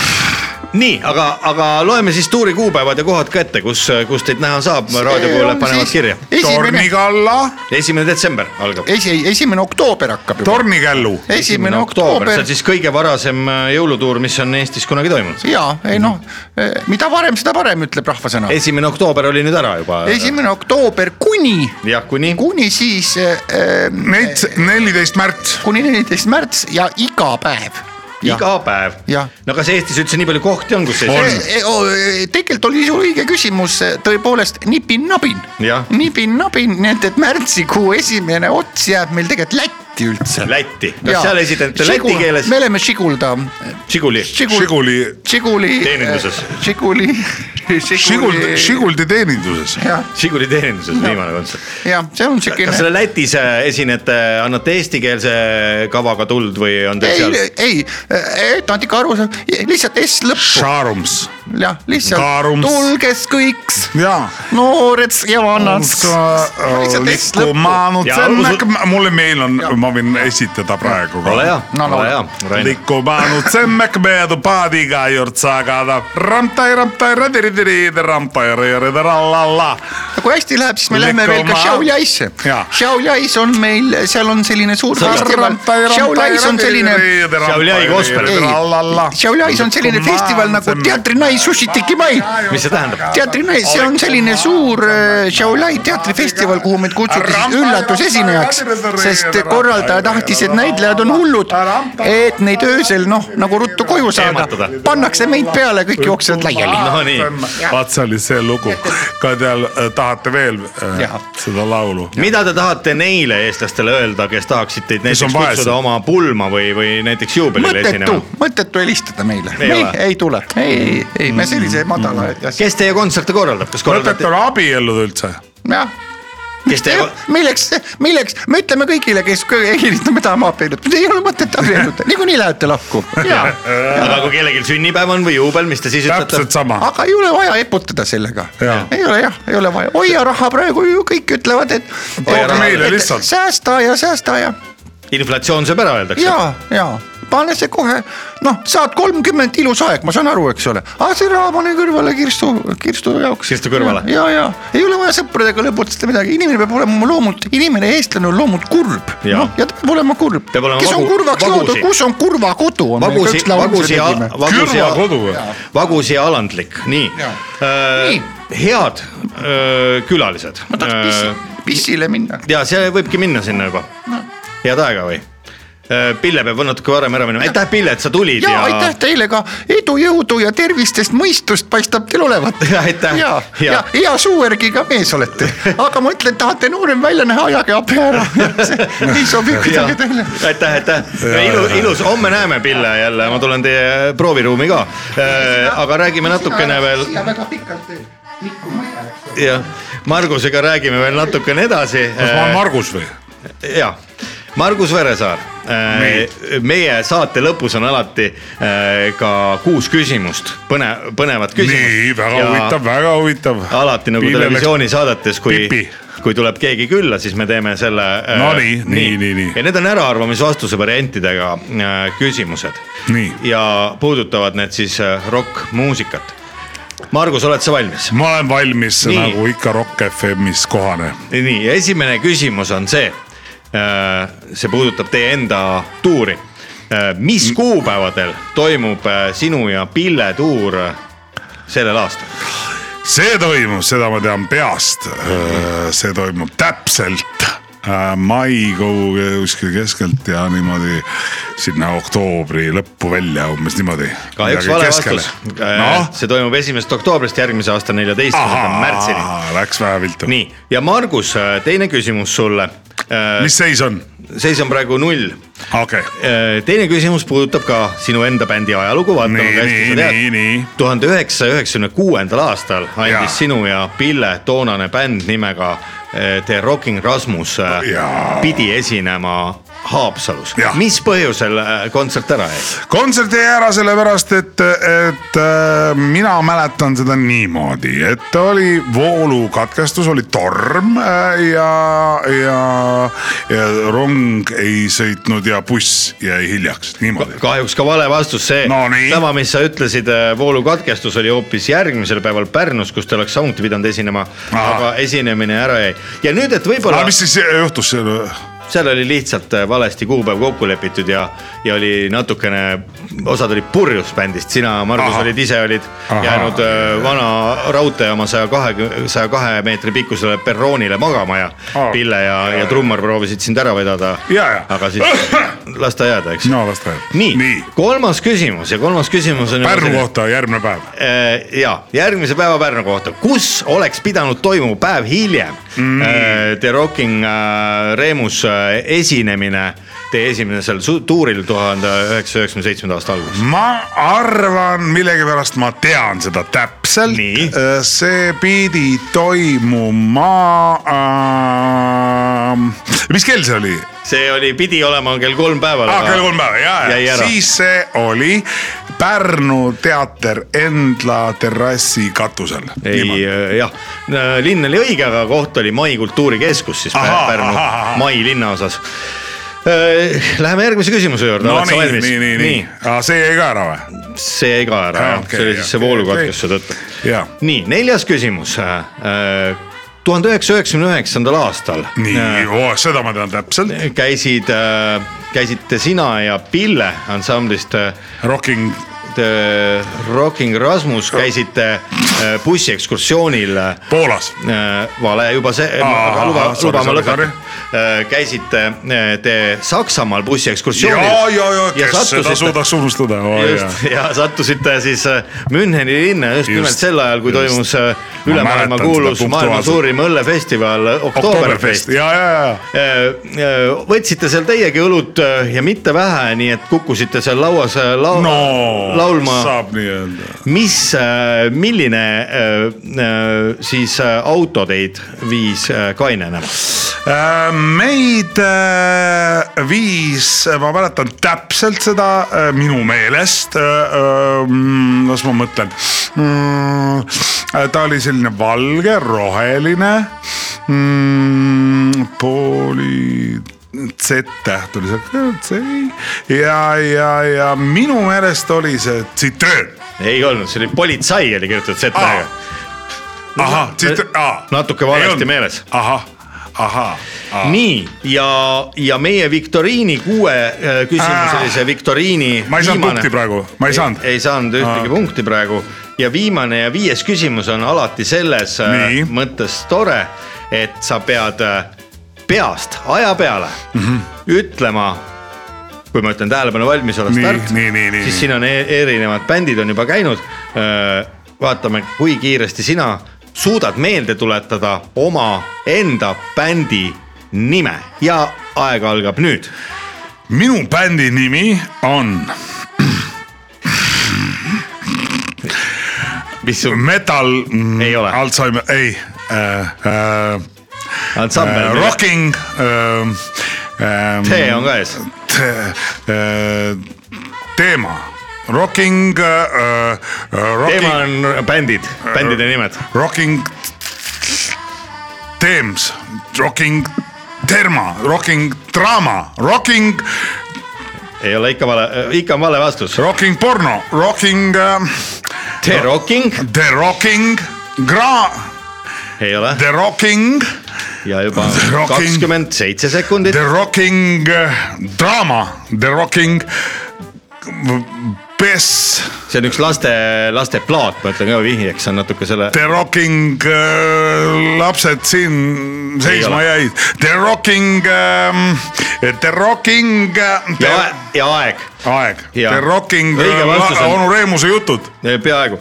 Speaker 5: nii , aga , aga loeme siis tuuri kuupäevad ja kohad ka ette , kus , kus teid näha saab , raadiokuulajad panevad kirja .
Speaker 2: esimene ,
Speaker 4: tornikalla ,
Speaker 5: esimene detsember algab .
Speaker 2: esi- , esimene oktoober hakkab juba .
Speaker 4: tornikällu .
Speaker 2: esimene
Speaker 5: see
Speaker 2: oktoober
Speaker 5: on siis kõige varasem äh, jõulutuur , mis on Eestis kunagi toimunud .
Speaker 2: ja ei noh , mida varem , seda parem , ütleb rahvasõna .
Speaker 5: esimene oktoober oli nüüd ära juba .
Speaker 2: esimene oktoober kuni ,
Speaker 5: jah , kuni .
Speaker 2: kuni siis äh,
Speaker 4: neliteist märts .
Speaker 2: kuni neliteist märts ja iga päev .
Speaker 5: iga päev
Speaker 2: Jah. .
Speaker 5: no kas Eestis üldse nii palju kohti on , kus Eestis ?
Speaker 2: e, tegelikult oli su õige küsimus e, tõepoolest nipin-nabin
Speaker 5: Jah. .
Speaker 2: nipin-nabin , nii et , et märtsikuu esimene ots jääb meil tegelikult Lätti üldse .
Speaker 5: Lätti , kas seal esitate läti keeles
Speaker 2: me ? oleme Žigulda .
Speaker 5: Žiguli .
Speaker 4: Žiguli ,
Speaker 2: Žiguli . äh,
Speaker 5: Teeninduses. .
Speaker 2: Žiguli .
Speaker 4: Žiguld , Žiguldi teeninduses .
Speaker 2: jah ,
Speaker 5: Žiguli teeninduses viimane kontsert .
Speaker 2: jah , see on
Speaker 5: kas
Speaker 2: siukene
Speaker 5: selle Lätis äh, esinete , annate eestikeelse kavaga tuld või on teil seal
Speaker 2: ei , ei , et nad ikka aru saavad , lihtsalt S lõppu ,
Speaker 4: Šarums .
Speaker 2: jah , lihtsalt
Speaker 4: Kaarums.
Speaker 2: tulge kõiks ,
Speaker 4: jaa .
Speaker 2: noored ja vanad . Lihtsalt S lõppu.
Speaker 4: liikumaanud
Speaker 5: Ja
Speaker 4: sennak ,
Speaker 5: alusel-
Speaker 4: mulle meel on , ma võin esitada praegu
Speaker 5: ole hea
Speaker 4: ka .
Speaker 2: No, , no,
Speaker 5: ole
Speaker 2: no.
Speaker 5: hea , Rain .
Speaker 4: liikumaanud sennak möödub paadiga juurt sagada . ramtai , ramtai , radiri , ramtai , radiri , rallalla .
Speaker 2: kui hästi läheb , siis me läheme veel ka
Speaker 4: Lekoma-
Speaker 2: Šiauliaisse
Speaker 4: Jaa. .
Speaker 2: Šiauliais on meil , seal on selline suur festival . Šiauliais on selline , Šiauliais on selline festival nagu teatrinai Sushitikibai .
Speaker 5: mis see tähendab ?
Speaker 2: teatrinai , see on selline suur äh, Šiauliai teatrifestival , kuhu meid kutsuti siis üllatusesinejaks , sest korraldaja tahtis , et näitlejad on hullud , et neid öösel noh , nagu ruttu koju saada
Speaker 5: Eematada. ,
Speaker 2: pannakse meid peale , kõik jooksevad laiali .
Speaker 5: no nii ,
Speaker 4: vaat see oli see lugu , kui te äh, tahate veel äh,
Speaker 2: Jah.
Speaker 4: seda laulu .
Speaker 5: mida te tahate neile eestlastele öelda , kes tahaksid teid
Speaker 4: on
Speaker 5: näiteks
Speaker 4: vaesed.
Speaker 5: kutsuda oma pulma või , või näiteks juubelile
Speaker 2: mõttetu
Speaker 5: esinema ?,
Speaker 2: mõttetu helistada meile ,
Speaker 5: Ei
Speaker 2: ei
Speaker 5: ole. , Mm-hmm.
Speaker 2: ei tule , ei , ei , ei me sellise madala , jah ,
Speaker 5: kes teie kontserte korraldab , kas
Speaker 4: mõtet
Speaker 5: korraldate ,
Speaker 4: on abielluda üldse .
Speaker 2: jah .
Speaker 5: kes teie ,
Speaker 2: milleks , milleks , me ütleme kõigile , kes kõ- helistame tahame abielluda , ei ole mõtet abielluda , niikuinii lähete lahku .
Speaker 5: aga kui kellelgi sünnipäev on või juubel , mis te siis
Speaker 4: täpselt
Speaker 5: ütlete ?
Speaker 4: sama .
Speaker 2: aga ei ole vaja eputada sellega
Speaker 4: Jaa. ,
Speaker 2: ei ole jah , ei ole vaja , hoia raha praegu ju kõik ütlevad , et .
Speaker 4: Tooge meile lihtsalt.
Speaker 2: säästa ja säästa ja ,
Speaker 5: inflatsioon sööb ära , öeldakse .
Speaker 2: ja , ja pane see kohe , noh , saad kolmkümmend , ilus aeg , ma saan aru , eks ole , aga see raha pane kõrvale kirstu , kirstu jaoks .
Speaker 5: Kirstu kõrvale.
Speaker 2: ja , ja ei ole vaja sõpradega lõputada midagi , inimene peab olema oma loomult , inimene , eestlane on loomult kurb ,
Speaker 5: Jaa.
Speaker 2: noh , ja ta peab olema kurb .
Speaker 5: Peab olema
Speaker 2: kes on
Speaker 5: vagu-
Speaker 2: kurvaks
Speaker 5: vagusi.
Speaker 2: loodud , kus on kurva kodu , on meil ka
Speaker 5: vagusi ,
Speaker 2: üks laul , mis
Speaker 5: vagusi
Speaker 2: me , tegime .
Speaker 5: vagusi
Speaker 4: Kõrva , kodu või ?
Speaker 5: vagusi ja alandlik , nii Äh,
Speaker 2: Jaa. . Nii.
Speaker 5: head öö, külalised .
Speaker 2: ma tahaks pissi , pissile minna .
Speaker 5: ja see võibki minna sinna juba no. . head aega või ? Pille peab natuke varem ära minema , aitäh Pille , et sa tulid
Speaker 2: ja aitäh teile ka , edu , jõudu ja tervist , sest mõistust paistab teil olevat .
Speaker 5: Ja aitäh.
Speaker 2: ja ,
Speaker 5: Ja.
Speaker 2: ja hea suuvärgiga mees olete , aga ma ütlen , tahate noorem välja näha , ajage abi ära , ei sobi
Speaker 5: ja
Speaker 2: kuidagi teile .
Speaker 5: aitäh , aitäh , ilus , ilus , homme näeme Pille jälle , ma tulen teie prooviruumi ka . aga räägime natukene veel ,
Speaker 2: siia väga pikalt Mikku Maia , eks ole .
Speaker 5: jah , Margusega räägime veel natukene edasi . Äh,
Speaker 4: kas ma olen Margus või ?
Speaker 5: ja , Margus Veresaar , meie saate lõpus on alati äh, ka kuus küsimust , põne- , põnevat küsimust .
Speaker 4: nii , väga huvitav , väga huvitav .
Speaker 5: alati nagu
Speaker 4: Pille läks-
Speaker 5: televisioonisaadetes , kui
Speaker 4: Pipi. ,
Speaker 5: kui tuleb keegi külla , siis me teeme selle .
Speaker 4: No nii, nii, nii, nii.
Speaker 5: ja need on äraarvamisvastuse variantidega äh, küsimused
Speaker 4: Nii.
Speaker 5: ja puudutavad need siis äh, rokkmuusikat . Margus , oled sa valmis ?
Speaker 4: ma olen valmis
Speaker 5: Nii.
Speaker 4: nii. nagu ikka Rock FM-is kohane .
Speaker 5: nii , esimene küsimus on see . see puudutab teie enda tuuri . mis kuupäevadel toimub äh, sinu ja Pille tuur äh, sellel aastal ?
Speaker 4: see toimub , seda ma tean peast . see toimub täpselt äh, maikuu kuskil keskelt ja niimoodi sinna oktoobri lõppu välja umbes niimoodi .
Speaker 5: kahjuks vale vastus . Äh,
Speaker 4: noh ,
Speaker 5: see toimub esimesest oktoobrist järgmise aasta neljateistkümnenda märtsini .
Speaker 4: ahaa , läks vähe viltu .
Speaker 5: nii , ja Margus , teine küsimus sulle .
Speaker 4: mis seis on ?
Speaker 5: seis on praegu null .
Speaker 4: okei okay. ,
Speaker 5: Äh, teine küsimus puudutab ka sinu enda bändi ajalugu , vaatame
Speaker 4: Nii,
Speaker 5: kui hästi
Speaker 4: nii,
Speaker 5: sa
Speaker 4: nii, nii.
Speaker 5: tead . tuhande üheksasaja üheksakümne kuuendal aastal
Speaker 4: Jaa.
Speaker 5: andis sinu ja Pille toonane bänd nimega eh, The Rocking äh, Rasmus eh,
Speaker 4: Jaa.
Speaker 5: pidi esinema Haapsalus
Speaker 4: Jah. ,
Speaker 5: mis põhjusel äh, kontsert ära jäi ?
Speaker 4: kontsert jäi ära sellepärast , et , et äh, mina mäletan seda niimoodi , et oli voolukatkestus , oli torm äh, ja , ja , ja rong ei sõitnud ja buss jäi hiljaks , niimoodi .
Speaker 5: kahjuks ka vale vastus , see
Speaker 4: No nii.
Speaker 5: sama , mis sa ütlesid , voolukatkestus oli hoopis järgmisel päeval Pärnus , kus ta oleks samuti pidanud esinema ,
Speaker 4: Ahah.
Speaker 5: aga esinemine ära jäi . ja nüüd , et võib-olla
Speaker 4: aga mis siis juhtus seal ?
Speaker 5: seal oli lihtsalt äh, valesti kuupäev kokku lepitud ja , ja oli natukene , osad olid purjus bändist , sina , Margus
Speaker 4: Ahah.
Speaker 5: olid ise olid
Speaker 4: Ahah.
Speaker 5: Aha. jäänud äh, vana raudteejaama saja kahekümne , saja kahe meetri pikkusele perroonile magama ja
Speaker 4: Aa.
Speaker 5: Pille ja , ja trummar proovisid sind ära vedada
Speaker 4: Jaa, jaa.
Speaker 5: aga
Speaker 4: [coughs]
Speaker 5: siis las ta jääda , eks
Speaker 4: no las ta jääb .
Speaker 5: nii,
Speaker 4: nii.
Speaker 5: nii. , kolmas küsimus ja kolmas küsimus on .
Speaker 4: Pärnu . kohta järgmine päev .
Speaker 5: ja Äh, järgmise päeva Pärnu kohta , kus oleks pidanud toimuma päev hiljem mm. The Rocking äh, Remus äh, esinemine , teie esimesel su- tuuril tuhande üheksasaja üheksakümne seitsmenda aasta alguses .
Speaker 4: ma arvan , millegipärast ma tean seda täpselt Äh,
Speaker 5: Nii. .
Speaker 4: see pidi toimuma äh, . mis kell see oli ?
Speaker 5: see oli , pidi olema kell kolm päeval .
Speaker 4: aa , Ah, kell kolm päeva , ja ,
Speaker 5: jäi
Speaker 4: ja
Speaker 5: ära.
Speaker 4: siis see oli Pärnu teater Endla terrassi katusel .
Speaker 5: ei , jah , linn oli õige , aga koht oli Mai kultuurikeskus siis
Speaker 4: Ahaa,
Speaker 5: ahaa, Pärnu
Speaker 4: ahaa, ahaa.
Speaker 5: ahaa. Mai linnaosas . Läheme järgmise küsimuse juurde
Speaker 4: no
Speaker 5: oled sa
Speaker 4: nii ,
Speaker 5: valmis ?
Speaker 4: nii , nii , nii , aga see jäi ka ära või ?
Speaker 5: see jäi ka ära
Speaker 4: Aa, ,
Speaker 5: jah ,
Speaker 4: okei,
Speaker 5: see oli
Speaker 4: jah,
Speaker 5: siis see
Speaker 4: okei,
Speaker 5: voolukatkestuse
Speaker 4: okei.
Speaker 5: tõttu .
Speaker 4: jaa .
Speaker 5: nii , neljas küsimus . tuhande üheksasaja üheksakümne üheksandal aastal
Speaker 4: nii , oh, seda ma tean täpselt .
Speaker 5: äh, käisid , käisite sina ja Pille ansamblist äh,
Speaker 4: Rocking ,
Speaker 5: The Rocking Rasmus , käisite äh, bussiekskursioonil äh,
Speaker 4: Poolas .
Speaker 5: Äh, vale juba see ,
Speaker 4: Ahah,
Speaker 5: luba ,
Speaker 4: sorry,
Speaker 5: luba ma
Speaker 4: sorry,
Speaker 5: lõpetan . käisite äh, te Saksamaal bussiekskursioonil .
Speaker 4: ja , ja , ja kes seda
Speaker 5: sattusite-
Speaker 4: suudaks unustada oh, .
Speaker 5: just ja sattusite siis äh, Müncheni linna just, just nimelt sel ajal , kui
Speaker 4: just.
Speaker 5: toimus äh,
Speaker 4: Ma
Speaker 5: üle maailma
Speaker 4: mäletan
Speaker 5: kuulus
Speaker 4: seda
Speaker 5: maailma
Speaker 4: punktuaalselt.
Speaker 5: suurim õllefestival äh,
Speaker 4: Oktoberfest
Speaker 5: Oktoberfest .
Speaker 4: ja , ja , ja .
Speaker 5: võtsite seal teiegi õlut äh, ja mitte vähe , nii et kukkusite seal lauas äh, lau-
Speaker 4: no
Speaker 5: laulma .
Speaker 4: saab nii öelda .
Speaker 5: mis , milline äh, äh, siis äh, auto teid viis äh, kainenema ?
Speaker 4: meid äh, viis , ma mäletan täpselt seda äh, minu meelest . las ma mõtlen . ta oli selline valge , roheline mm, . pooli Z-täht oli seal , C ja , ja , ja minu meelest oli see Citroen .
Speaker 5: ei olnud , see oli politsai oli kirjutatud
Speaker 4: Ah,
Speaker 5: Z-tähega .
Speaker 4: ahah , Citroen , aa .
Speaker 5: natuke valesti meeles .
Speaker 4: ahah , ahah .
Speaker 5: nii ja , ja meie viktoriini kuue äh, küsimus
Speaker 4: Ah.
Speaker 5: oli see viktoriini .
Speaker 4: Ma ei saanud punkti praegu, ma ei saanud.
Speaker 5: ei saanud ühtegi ah.
Speaker 4: Ah.
Speaker 5: punkti praegu ja viimane ja viies küsimus on alati selles
Speaker 4: Nii.
Speaker 5: nii. mõttes tore , et sa pead äh, peast aja peale mm
Speaker 4: Mhm.
Speaker 5: -hmm. ütlema kui ma ütlen tähelepanu valmis , ole
Speaker 4: Nii,
Speaker 5: start ,
Speaker 4: nii, nii, nii,
Speaker 5: siis
Speaker 4: nii.
Speaker 5: siin on e- erinevad bändid on juba käinud . vaatame , kui kiiresti sina suudad meelde tuletada omaenda bändi nime ja aeg algab nüüd .
Speaker 4: minu bändi nimi on
Speaker 5: mis sul
Speaker 4: Metal .
Speaker 5: Ei ole.
Speaker 4: Alzheimer , ei äh, . Äh,
Speaker 5: ansambel
Speaker 4: äh,
Speaker 5: äh, ,
Speaker 4: rocking äh, . Äh,
Speaker 5: see on ka ees .
Speaker 4: te, äh, teema , rocking äh, .
Speaker 5: teema
Speaker 4: Rocking ,
Speaker 5: on bändid , bändide
Speaker 4: Äh.
Speaker 5: nimed .
Speaker 4: rocking . Teems , rocking Terma , rocking Drama , rocking ,
Speaker 5: ei ole ikka vale , ikka on vale vastus .
Speaker 4: rocking porno , rocking äh,
Speaker 5: The Rocking
Speaker 4: The Rocking , Gra- ,
Speaker 5: ei ole
Speaker 4: The Rocking ,
Speaker 5: ja juba
Speaker 4: The Rocking.
Speaker 5: kakskümmend seitse sekundit
Speaker 4: The Rocking äh, Drama , The Rocking Bess ,
Speaker 5: see on üks laste , laste plaat , ma ütlen ka vihjeks on natuke selle .
Speaker 4: The Rocking äh, lapsed siin seisma
Speaker 5: ole.
Speaker 4: jäid , The um, Rocking , The Rocking
Speaker 5: ja , ja aeg
Speaker 4: aeg ,
Speaker 5: Jaa.
Speaker 4: The Rocking äh,
Speaker 5: Õige vastus on-
Speaker 4: onu Reemuse jutud .
Speaker 5: peaaegu ,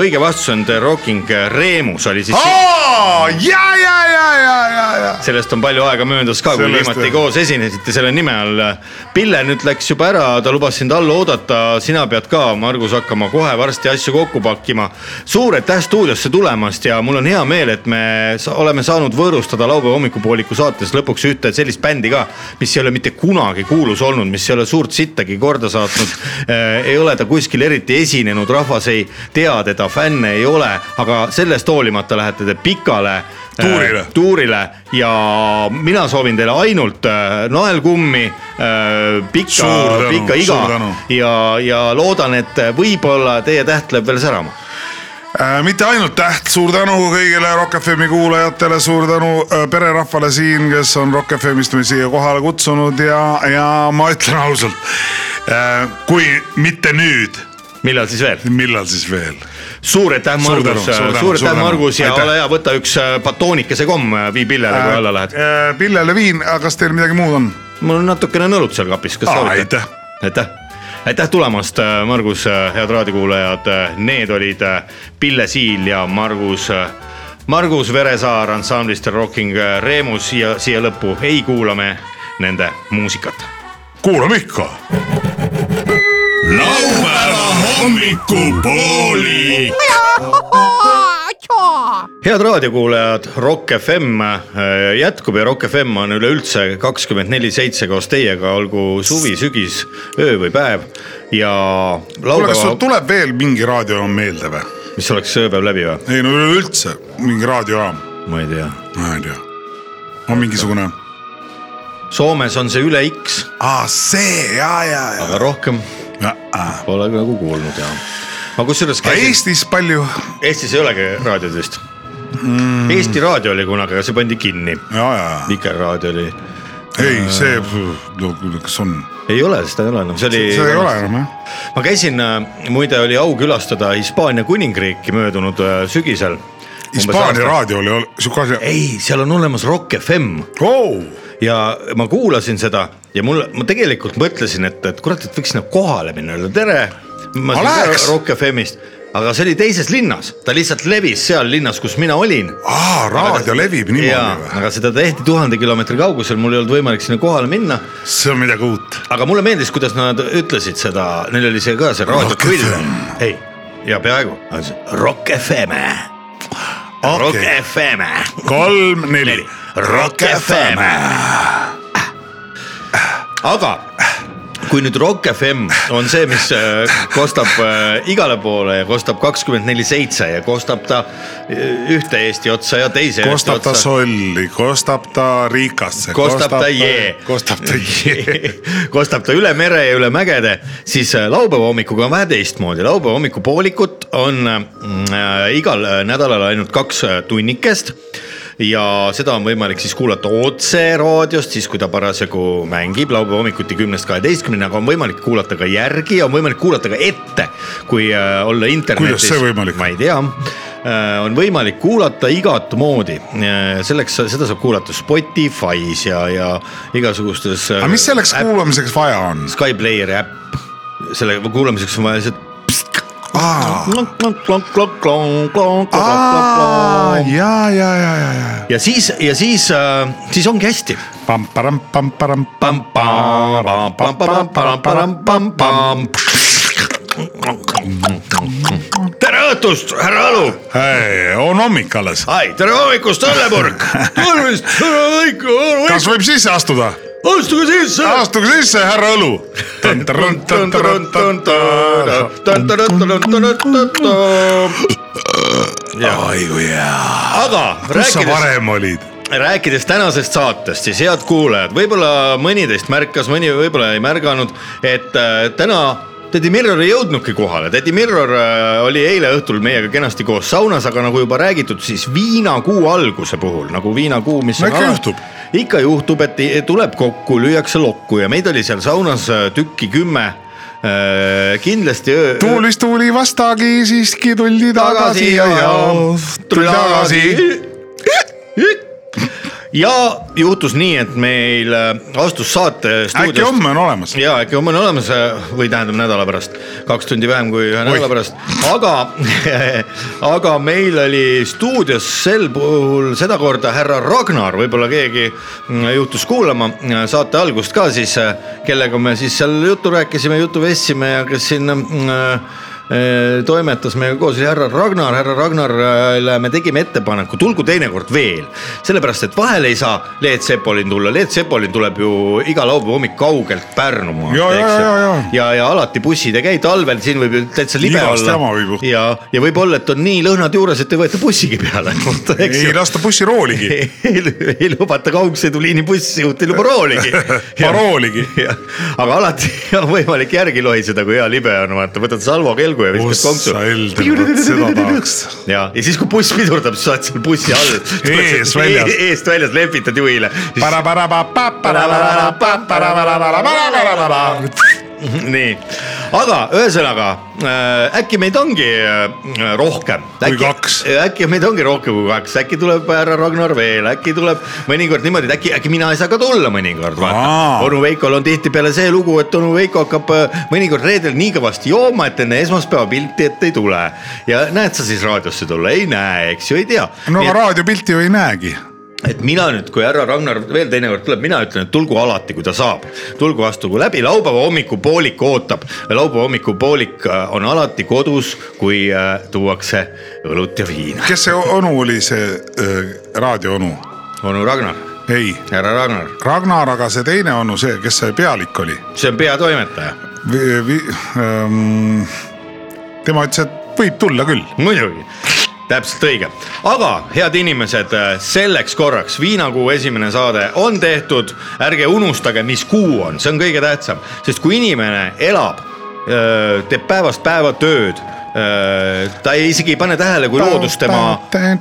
Speaker 5: õige vastus on The Rocking Reemus oli siis ,
Speaker 4: ja , ja , ja , ja , ja , ja .
Speaker 5: sellest on palju aega möödas ka , kui
Speaker 4: Sellest
Speaker 5: viimati
Speaker 4: jah.
Speaker 5: koos esinesite selle nime all . Pille nüüd läks juba ära , ta lubas sind all oodata , sina pead ka , Margus , hakkama kohe varsti asju kokku pakkima . suur aitäh stuudiosse tulemast ja mul on hea meel , et me sa- oleme saanud võõrustada laupäeva hommikupooliku saates lõpuks ühte sellist bändi ka , mis ei ole mitte kunagi kuulus olnud , mis ei ole suurt sittagi korda saatnud . ei ole ta kuskil eriti esinenud , rahvas ei tea teda , fänne ei ole , aga sellest hoolimata lähete te pikale äh,
Speaker 4: Tuurile.
Speaker 5: tuurile ja mina soovin teile ainult äh, naelkummi , pikka
Speaker 4: Suur tänu, ,
Speaker 5: pikka iga
Speaker 4: suur tänu.
Speaker 5: ja , ja loodan , et äh, võib-olla teie täht läheb veel särama .
Speaker 4: Äh, mitte ainult täht , suur tänu kõigile Rock FM-i kuulajatele , suur tänu äh, pererahvale siin , kes on Rock FM-ist meid siia kohale kutsunud ja , ja ma ütlen ausalt , kui mitte nüüd ,
Speaker 5: millal siis veel ?
Speaker 4: millal siis veel ?
Speaker 5: suur aitäh ,
Speaker 4: Suur tänu,
Speaker 5: Margus ,
Speaker 4: suur tänu,
Speaker 5: suur
Speaker 4: suur
Speaker 5: aitäh ,
Speaker 4: tänu.
Speaker 5: Margus ja
Speaker 4: Aitäh. Äh,
Speaker 5: ole hea , võta üks äh, batoonikese komm , vii pillele , kui alla lähed .
Speaker 4: Pillele viin , kas teil midagi muud on ?
Speaker 5: mul on natukene nõlut seal kapis , kas
Speaker 4: Aa,
Speaker 5: soovite ?
Speaker 4: aitäh.
Speaker 5: aitäh , aitäh tulemast , Margus , head raadiokuulajad , need olid äh, Pille Siil ja Margus , Margus Veresaar ansamblist Rocking äh, Remus ja siia lõppu ei kuula me nende muusikat
Speaker 4: kuulame ikka
Speaker 1: laupäeva hommikupooli .
Speaker 5: head raadiokuulajad , Rock FM äh, jätkub ja Rock FM on üleüldse kakskümmend neli seitse koos teiega , olgu suvi , sügis , öö või päev ja
Speaker 4: kuule , kas
Speaker 5: laupäeva ,
Speaker 4: sul tuleb veel mingi raadiojaam meelde või ?
Speaker 5: mis oleks ööpäev läbi või ?
Speaker 4: ei no üleüldse mingi raadiojaam ,
Speaker 5: ma ei tea ,
Speaker 4: ma ei tea , on mingisugune ,
Speaker 5: Soomes on see üle X ,
Speaker 4: aa Ah, see ja , ja , ja,
Speaker 5: aga rohkem
Speaker 4: ja . äh.
Speaker 5: pole nagu kuulnud ja . ma kusjuures käisin ,
Speaker 4: Eestis palju ,
Speaker 5: Eestis ei olegi raadiod vist mm. . Eesti Raadio oli kunagi , aga see pandi kinni ,
Speaker 4: ja , ja ,
Speaker 5: Vikerraadio oli ,
Speaker 4: ei see , kas on
Speaker 5: ei ole , seda ei ole enam , see oli .
Speaker 4: see ei ole enam jah .
Speaker 5: ma käisin , muide oli au külastada Hispaania kuningriiki möödunud äh, sügisel .
Speaker 4: Hispaania . raadio oli ol- sihuke asi .
Speaker 5: ei , seal on olemas Rock FM
Speaker 4: oh, .
Speaker 5: ja ma kuulasin seda ja mul , ma tegelikult mõtlesin , et , et kurat , et võiks sinna kohale minna , öelda tere . ma
Speaker 4: Ma
Speaker 5: saan
Speaker 4: läheks.
Speaker 5: aru Rock FM-ist , aga see oli teises linnas , ta lihtsalt levis seal linnas , kus mina olin
Speaker 4: aa , Ah, raadio levib
Speaker 5: jaa
Speaker 4: niimoodi , või ?
Speaker 5: aga seda tehti tuhande kilomeetri kaugusel , mul ei olnud võimalik sinna kohale minna ,
Speaker 4: see on midagi uut .
Speaker 5: aga mulle meeldis , kuidas nad ütlesid seda , neil oli see ka see
Speaker 4: Rock
Speaker 5: raadiokõll
Speaker 4: FM. ,
Speaker 5: ei , ja peaaegu , Rock FM , Rock
Speaker 4: Okei.
Speaker 5: FM ,
Speaker 4: kolm , neli .
Speaker 5: Rock FM . aga kui nüüd Rock FM on see , mis äh, kostab äh, igale poole ja kostab kakskümmend neli seitse ja kostab ta äh, ühte Eesti otsa ja teise Eesti
Speaker 4: kostab ta
Speaker 5: otsa.
Speaker 4: solli , kostab ta rikasse .
Speaker 5: Kostab ta jee.
Speaker 4: kostab ta jee .
Speaker 5: [laughs] kostab ta üle mere ja üle mägede , siis äh, laupäeva hommikuga on vähe teistmoodi , laupäeva hommikupoolikut on äh, igal äh, nädalal ainult kaks äh, tunnikest ja seda on võimalik siis kuulata otse raadiost , siis kui ta parasjagu mängib laupäeva hommikuti kümnest kaheteistkümneni , aga on võimalik kuulata ka järgi ja on võimalik kuulata ka ette , kui äh, olla internetis .
Speaker 4: see võimalik on?
Speaker 5: ma ei tea , on võimalik kuulata igat moodi , selleks , seda saab kuulata Spotify's ja , ja igasugustes .
Speaker 4: aga mis selleks ? kuulamiseks vaja on ?
Speaker 5: Sky Playeri äpp , selle kuulamiseks on vaja lihtsalt .
Speaker 4: ja , ja , ja , ja , ja .
Speaker 5: ja siis , ja siis , siis ongi hästi .
Speaker 4: pamparam-pamparam .
Speaker 5: tere õhtust , härra Alu
Speaker 4: ei , on hommik alles .
Speaker 5: ai , tere hommikust , Õllepurk . tervist , tere hommikust ,
Speaker 4: kas võib sisse astuda ?
Speaker 5: astuge sisse .
Speaker 4: astuge sisse , härra õlu . oi kui hea .
Speaker 5: aga
Speaker 4: kus sa
Speaker 5: rääkides ,
Speaker 4: varem olid ?
Speaker 5: rääkides tänasest saatest , siis head kuulajad , võib-olla mõni teist märkas , mõni võib-olla ei märganud , et äh, täna tädi Mirror ei jõudnudki kohale , tädi Mirror äh, oli eile õhtul meiega kenasti koos saunas , aga nagu juba räägitud , siis viinakuu alguse puhul nagu viinakuu , mis
Speaker 4: No ikka
Speaker 5: alanud-
Speaker 4: juhtub.
Speaker 5: ikka juhtub , et i- tuleb kokku , lüüakse lokku ja meid oli seal saunas äh, tükki kümme . kindlasti äh, öö .
Speaker 4: tuulist tuuli vastagi , siiski tuldi tagasi ja jaos , tuli tagasi .
Speaker 5: ja juhtus nii , et meil äh, astus saate
Speaker 4: äkki
Speaker 5: stuudiost
Speaker 4: homme on olemas ?
Speaker 5: ja äkki homme on olemas äh, või tähendab nädala pärast , kaks tundi vähem kui ühe nädala pärast , aga [laughs] aga meil oli stuudios sel puhul sedakorda härra Ragnar , võib-olla keegi mm, juhtus kuulama äh, saate algust ka siis , kellega me siis seal juttu rääkisime , juttu vestsime ja kes siin mm, äh, toimetas meiega koos , oli härra Ragnar , härra Ragnarile me tegime ettepaneku , tulgu teinekord veel , sellepärast et vahele ei saa Leet Sepolin tulla , Leet Sepolin tuleb ju iga laupäeva hommik kaugelt Pärnumaalt ,
Speaker 4: Ja, ja,
Speaker 5: eks
Speaker 4: ja,
Speaker 5: ju
Speaker 4: ja. .
Speaker 5: ja , ja alati bussid ei käi , talvel siin võib ju täitsa libe
Speaker 4: Igast jama
Speaker 5: olla
Speaker 4: võib juhtuda. .
Speaker 5: ja , ja võib-olla , et on nii lõhnad juures , et ei võeta bussigi peale , [laughs] eks
Speaker 4: ei
Speaker 5: ju .
Speaker 4: lasta bussirooligi ,.
Speaker 5: ei, ei lubata kaugsõiduliini bussijuht , ei luba rooligi
Speaker 4: [laughs] parooligi .
Speaker 5: Jah, aga alati [laughs] on võimalik järgi lohiseda , kui hea libe on , vaata , võtad salvo kelgu ja viskad konksu .
Speaker 4: ossa Elder , vot seda tahaks .
Speaker 5: ja , ja siis , kui buss pidurdab , siis sa oled seal bussi all .
Speaker 4: Ees väljas.
Speaker 5: eest väljas lehvitad juhile . [laughs] nii , aga ühesõnaga äh, äkki meid ongi äh, rohkem .
Speaker 4: Kui kaks.
Speaker 5: äkki meid ongi rohkem kui kaks , äkki tuleb härra Ragnar veel , äkki tuleb mõnikord niimoodi , et äkki , äkki mina ei saa ka tulla mõnikord ,
Speaker 4: Aa.
Speaker 5: vaata . onu Veikol on tihtipeale see lugu , et onu Veiko hakkab äh, mõnikord reedel nii kõvasti jooma , et enne esmaspäeva pilti ette ei tule . ja näed sa siis raadiosse tulla , ei näe , eks ju , ei tea .
Speaker 4: no aga raadiopilti ju ei näegi .
Speaker 5: et mina nüüd , kui härra Ragnar veel teinekord tuleb , mina ütlen , et tulgu alati , kui ta saab , tulgu astugu läbi , laupäeva hommikupoolik ootab . laupäeva hommikupoolik äh, on alati kodus , kui äh, tuuakse õlut ja viina .
Speaker 4: kes see onu oli , see äh, raadioonu ?
Speaker 5: onu Ragnar ,
Speaker 4: ei ,
Speaker 5: härra Ragnar ,
Speaker 4: Ragnar , aga see teine onu , see , kes see pealik oli ?
Speaker 5: see on peatoimetaja ,
Speaker 4: Ähm, tema ütles , et võib tulla küll .
Speaker 5: muidugi täpselt õige , aga head inimesed , selleks korraks viinakuu esimene saade on tehtud , ärge unustage , mis kuu on , see on kõige tähtsam , sest kui inimene elab , teeb päevast päeva tööd , ta ei isegi ei pane tähele , kui loodus tema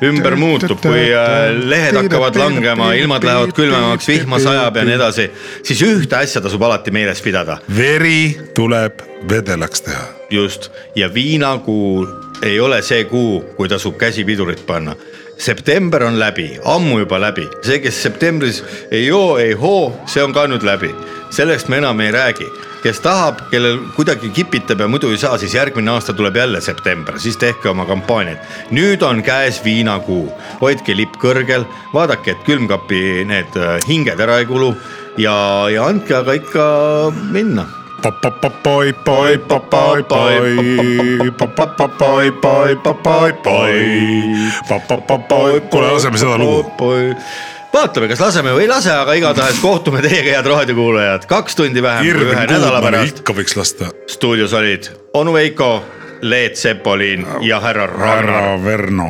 Speaker 5: ümber muutub , kui öö, lehed hakkavad langema , ilmad lähevad külmemaks , vihma sajab ja nii edasi , siis ühte asja tasub alati meeles pidada
Speaker 4: veri tuleb vedelaks teha .
Speaker 5: just , ja viinakuu ei ole see kuu , kui tasub käsi pidurit panna . september on läbi , ammu juba läbi , see , kes septembris ei joo , ei hoo , see on ka nüüd läbi . sellest me enam ei räägi , kes tahab , kellel kuidagi kipitab ja muidu ei saa , siis järgmine aasta tuleb jälle september , siis tehke oma kampaaniaid . nüüd on käes viinakuu , hoidke lipp kõrgel , vaadake , et külmkapi need äh, hinged ära ei kulu ja , ja andke aga ikka minna
Speaker 4: kuule , laseme seda lugu .
Speaker 5: vaatame , kas laseme või ei lase , aga igatahes kohtume teiega , head raadiokuulajad , kaks tundi vähem kui ühe
Speaker 4: hirm nagu
Speaker 5: nädala
Speaker 4: kuumane ,
Speaker 5: pärast .
Speaker 4: ikka võiks lasta .
Speaker 5: stuudios olid onu Veiko , Leet Sepolin ja härra Ragnar .
Speaker 4: härra Verno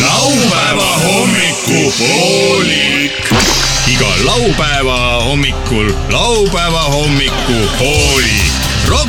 Speaker 8: laupäeva hommikupoolik . iga laupäeva hommikul laupäeva hommikupoolik . Rock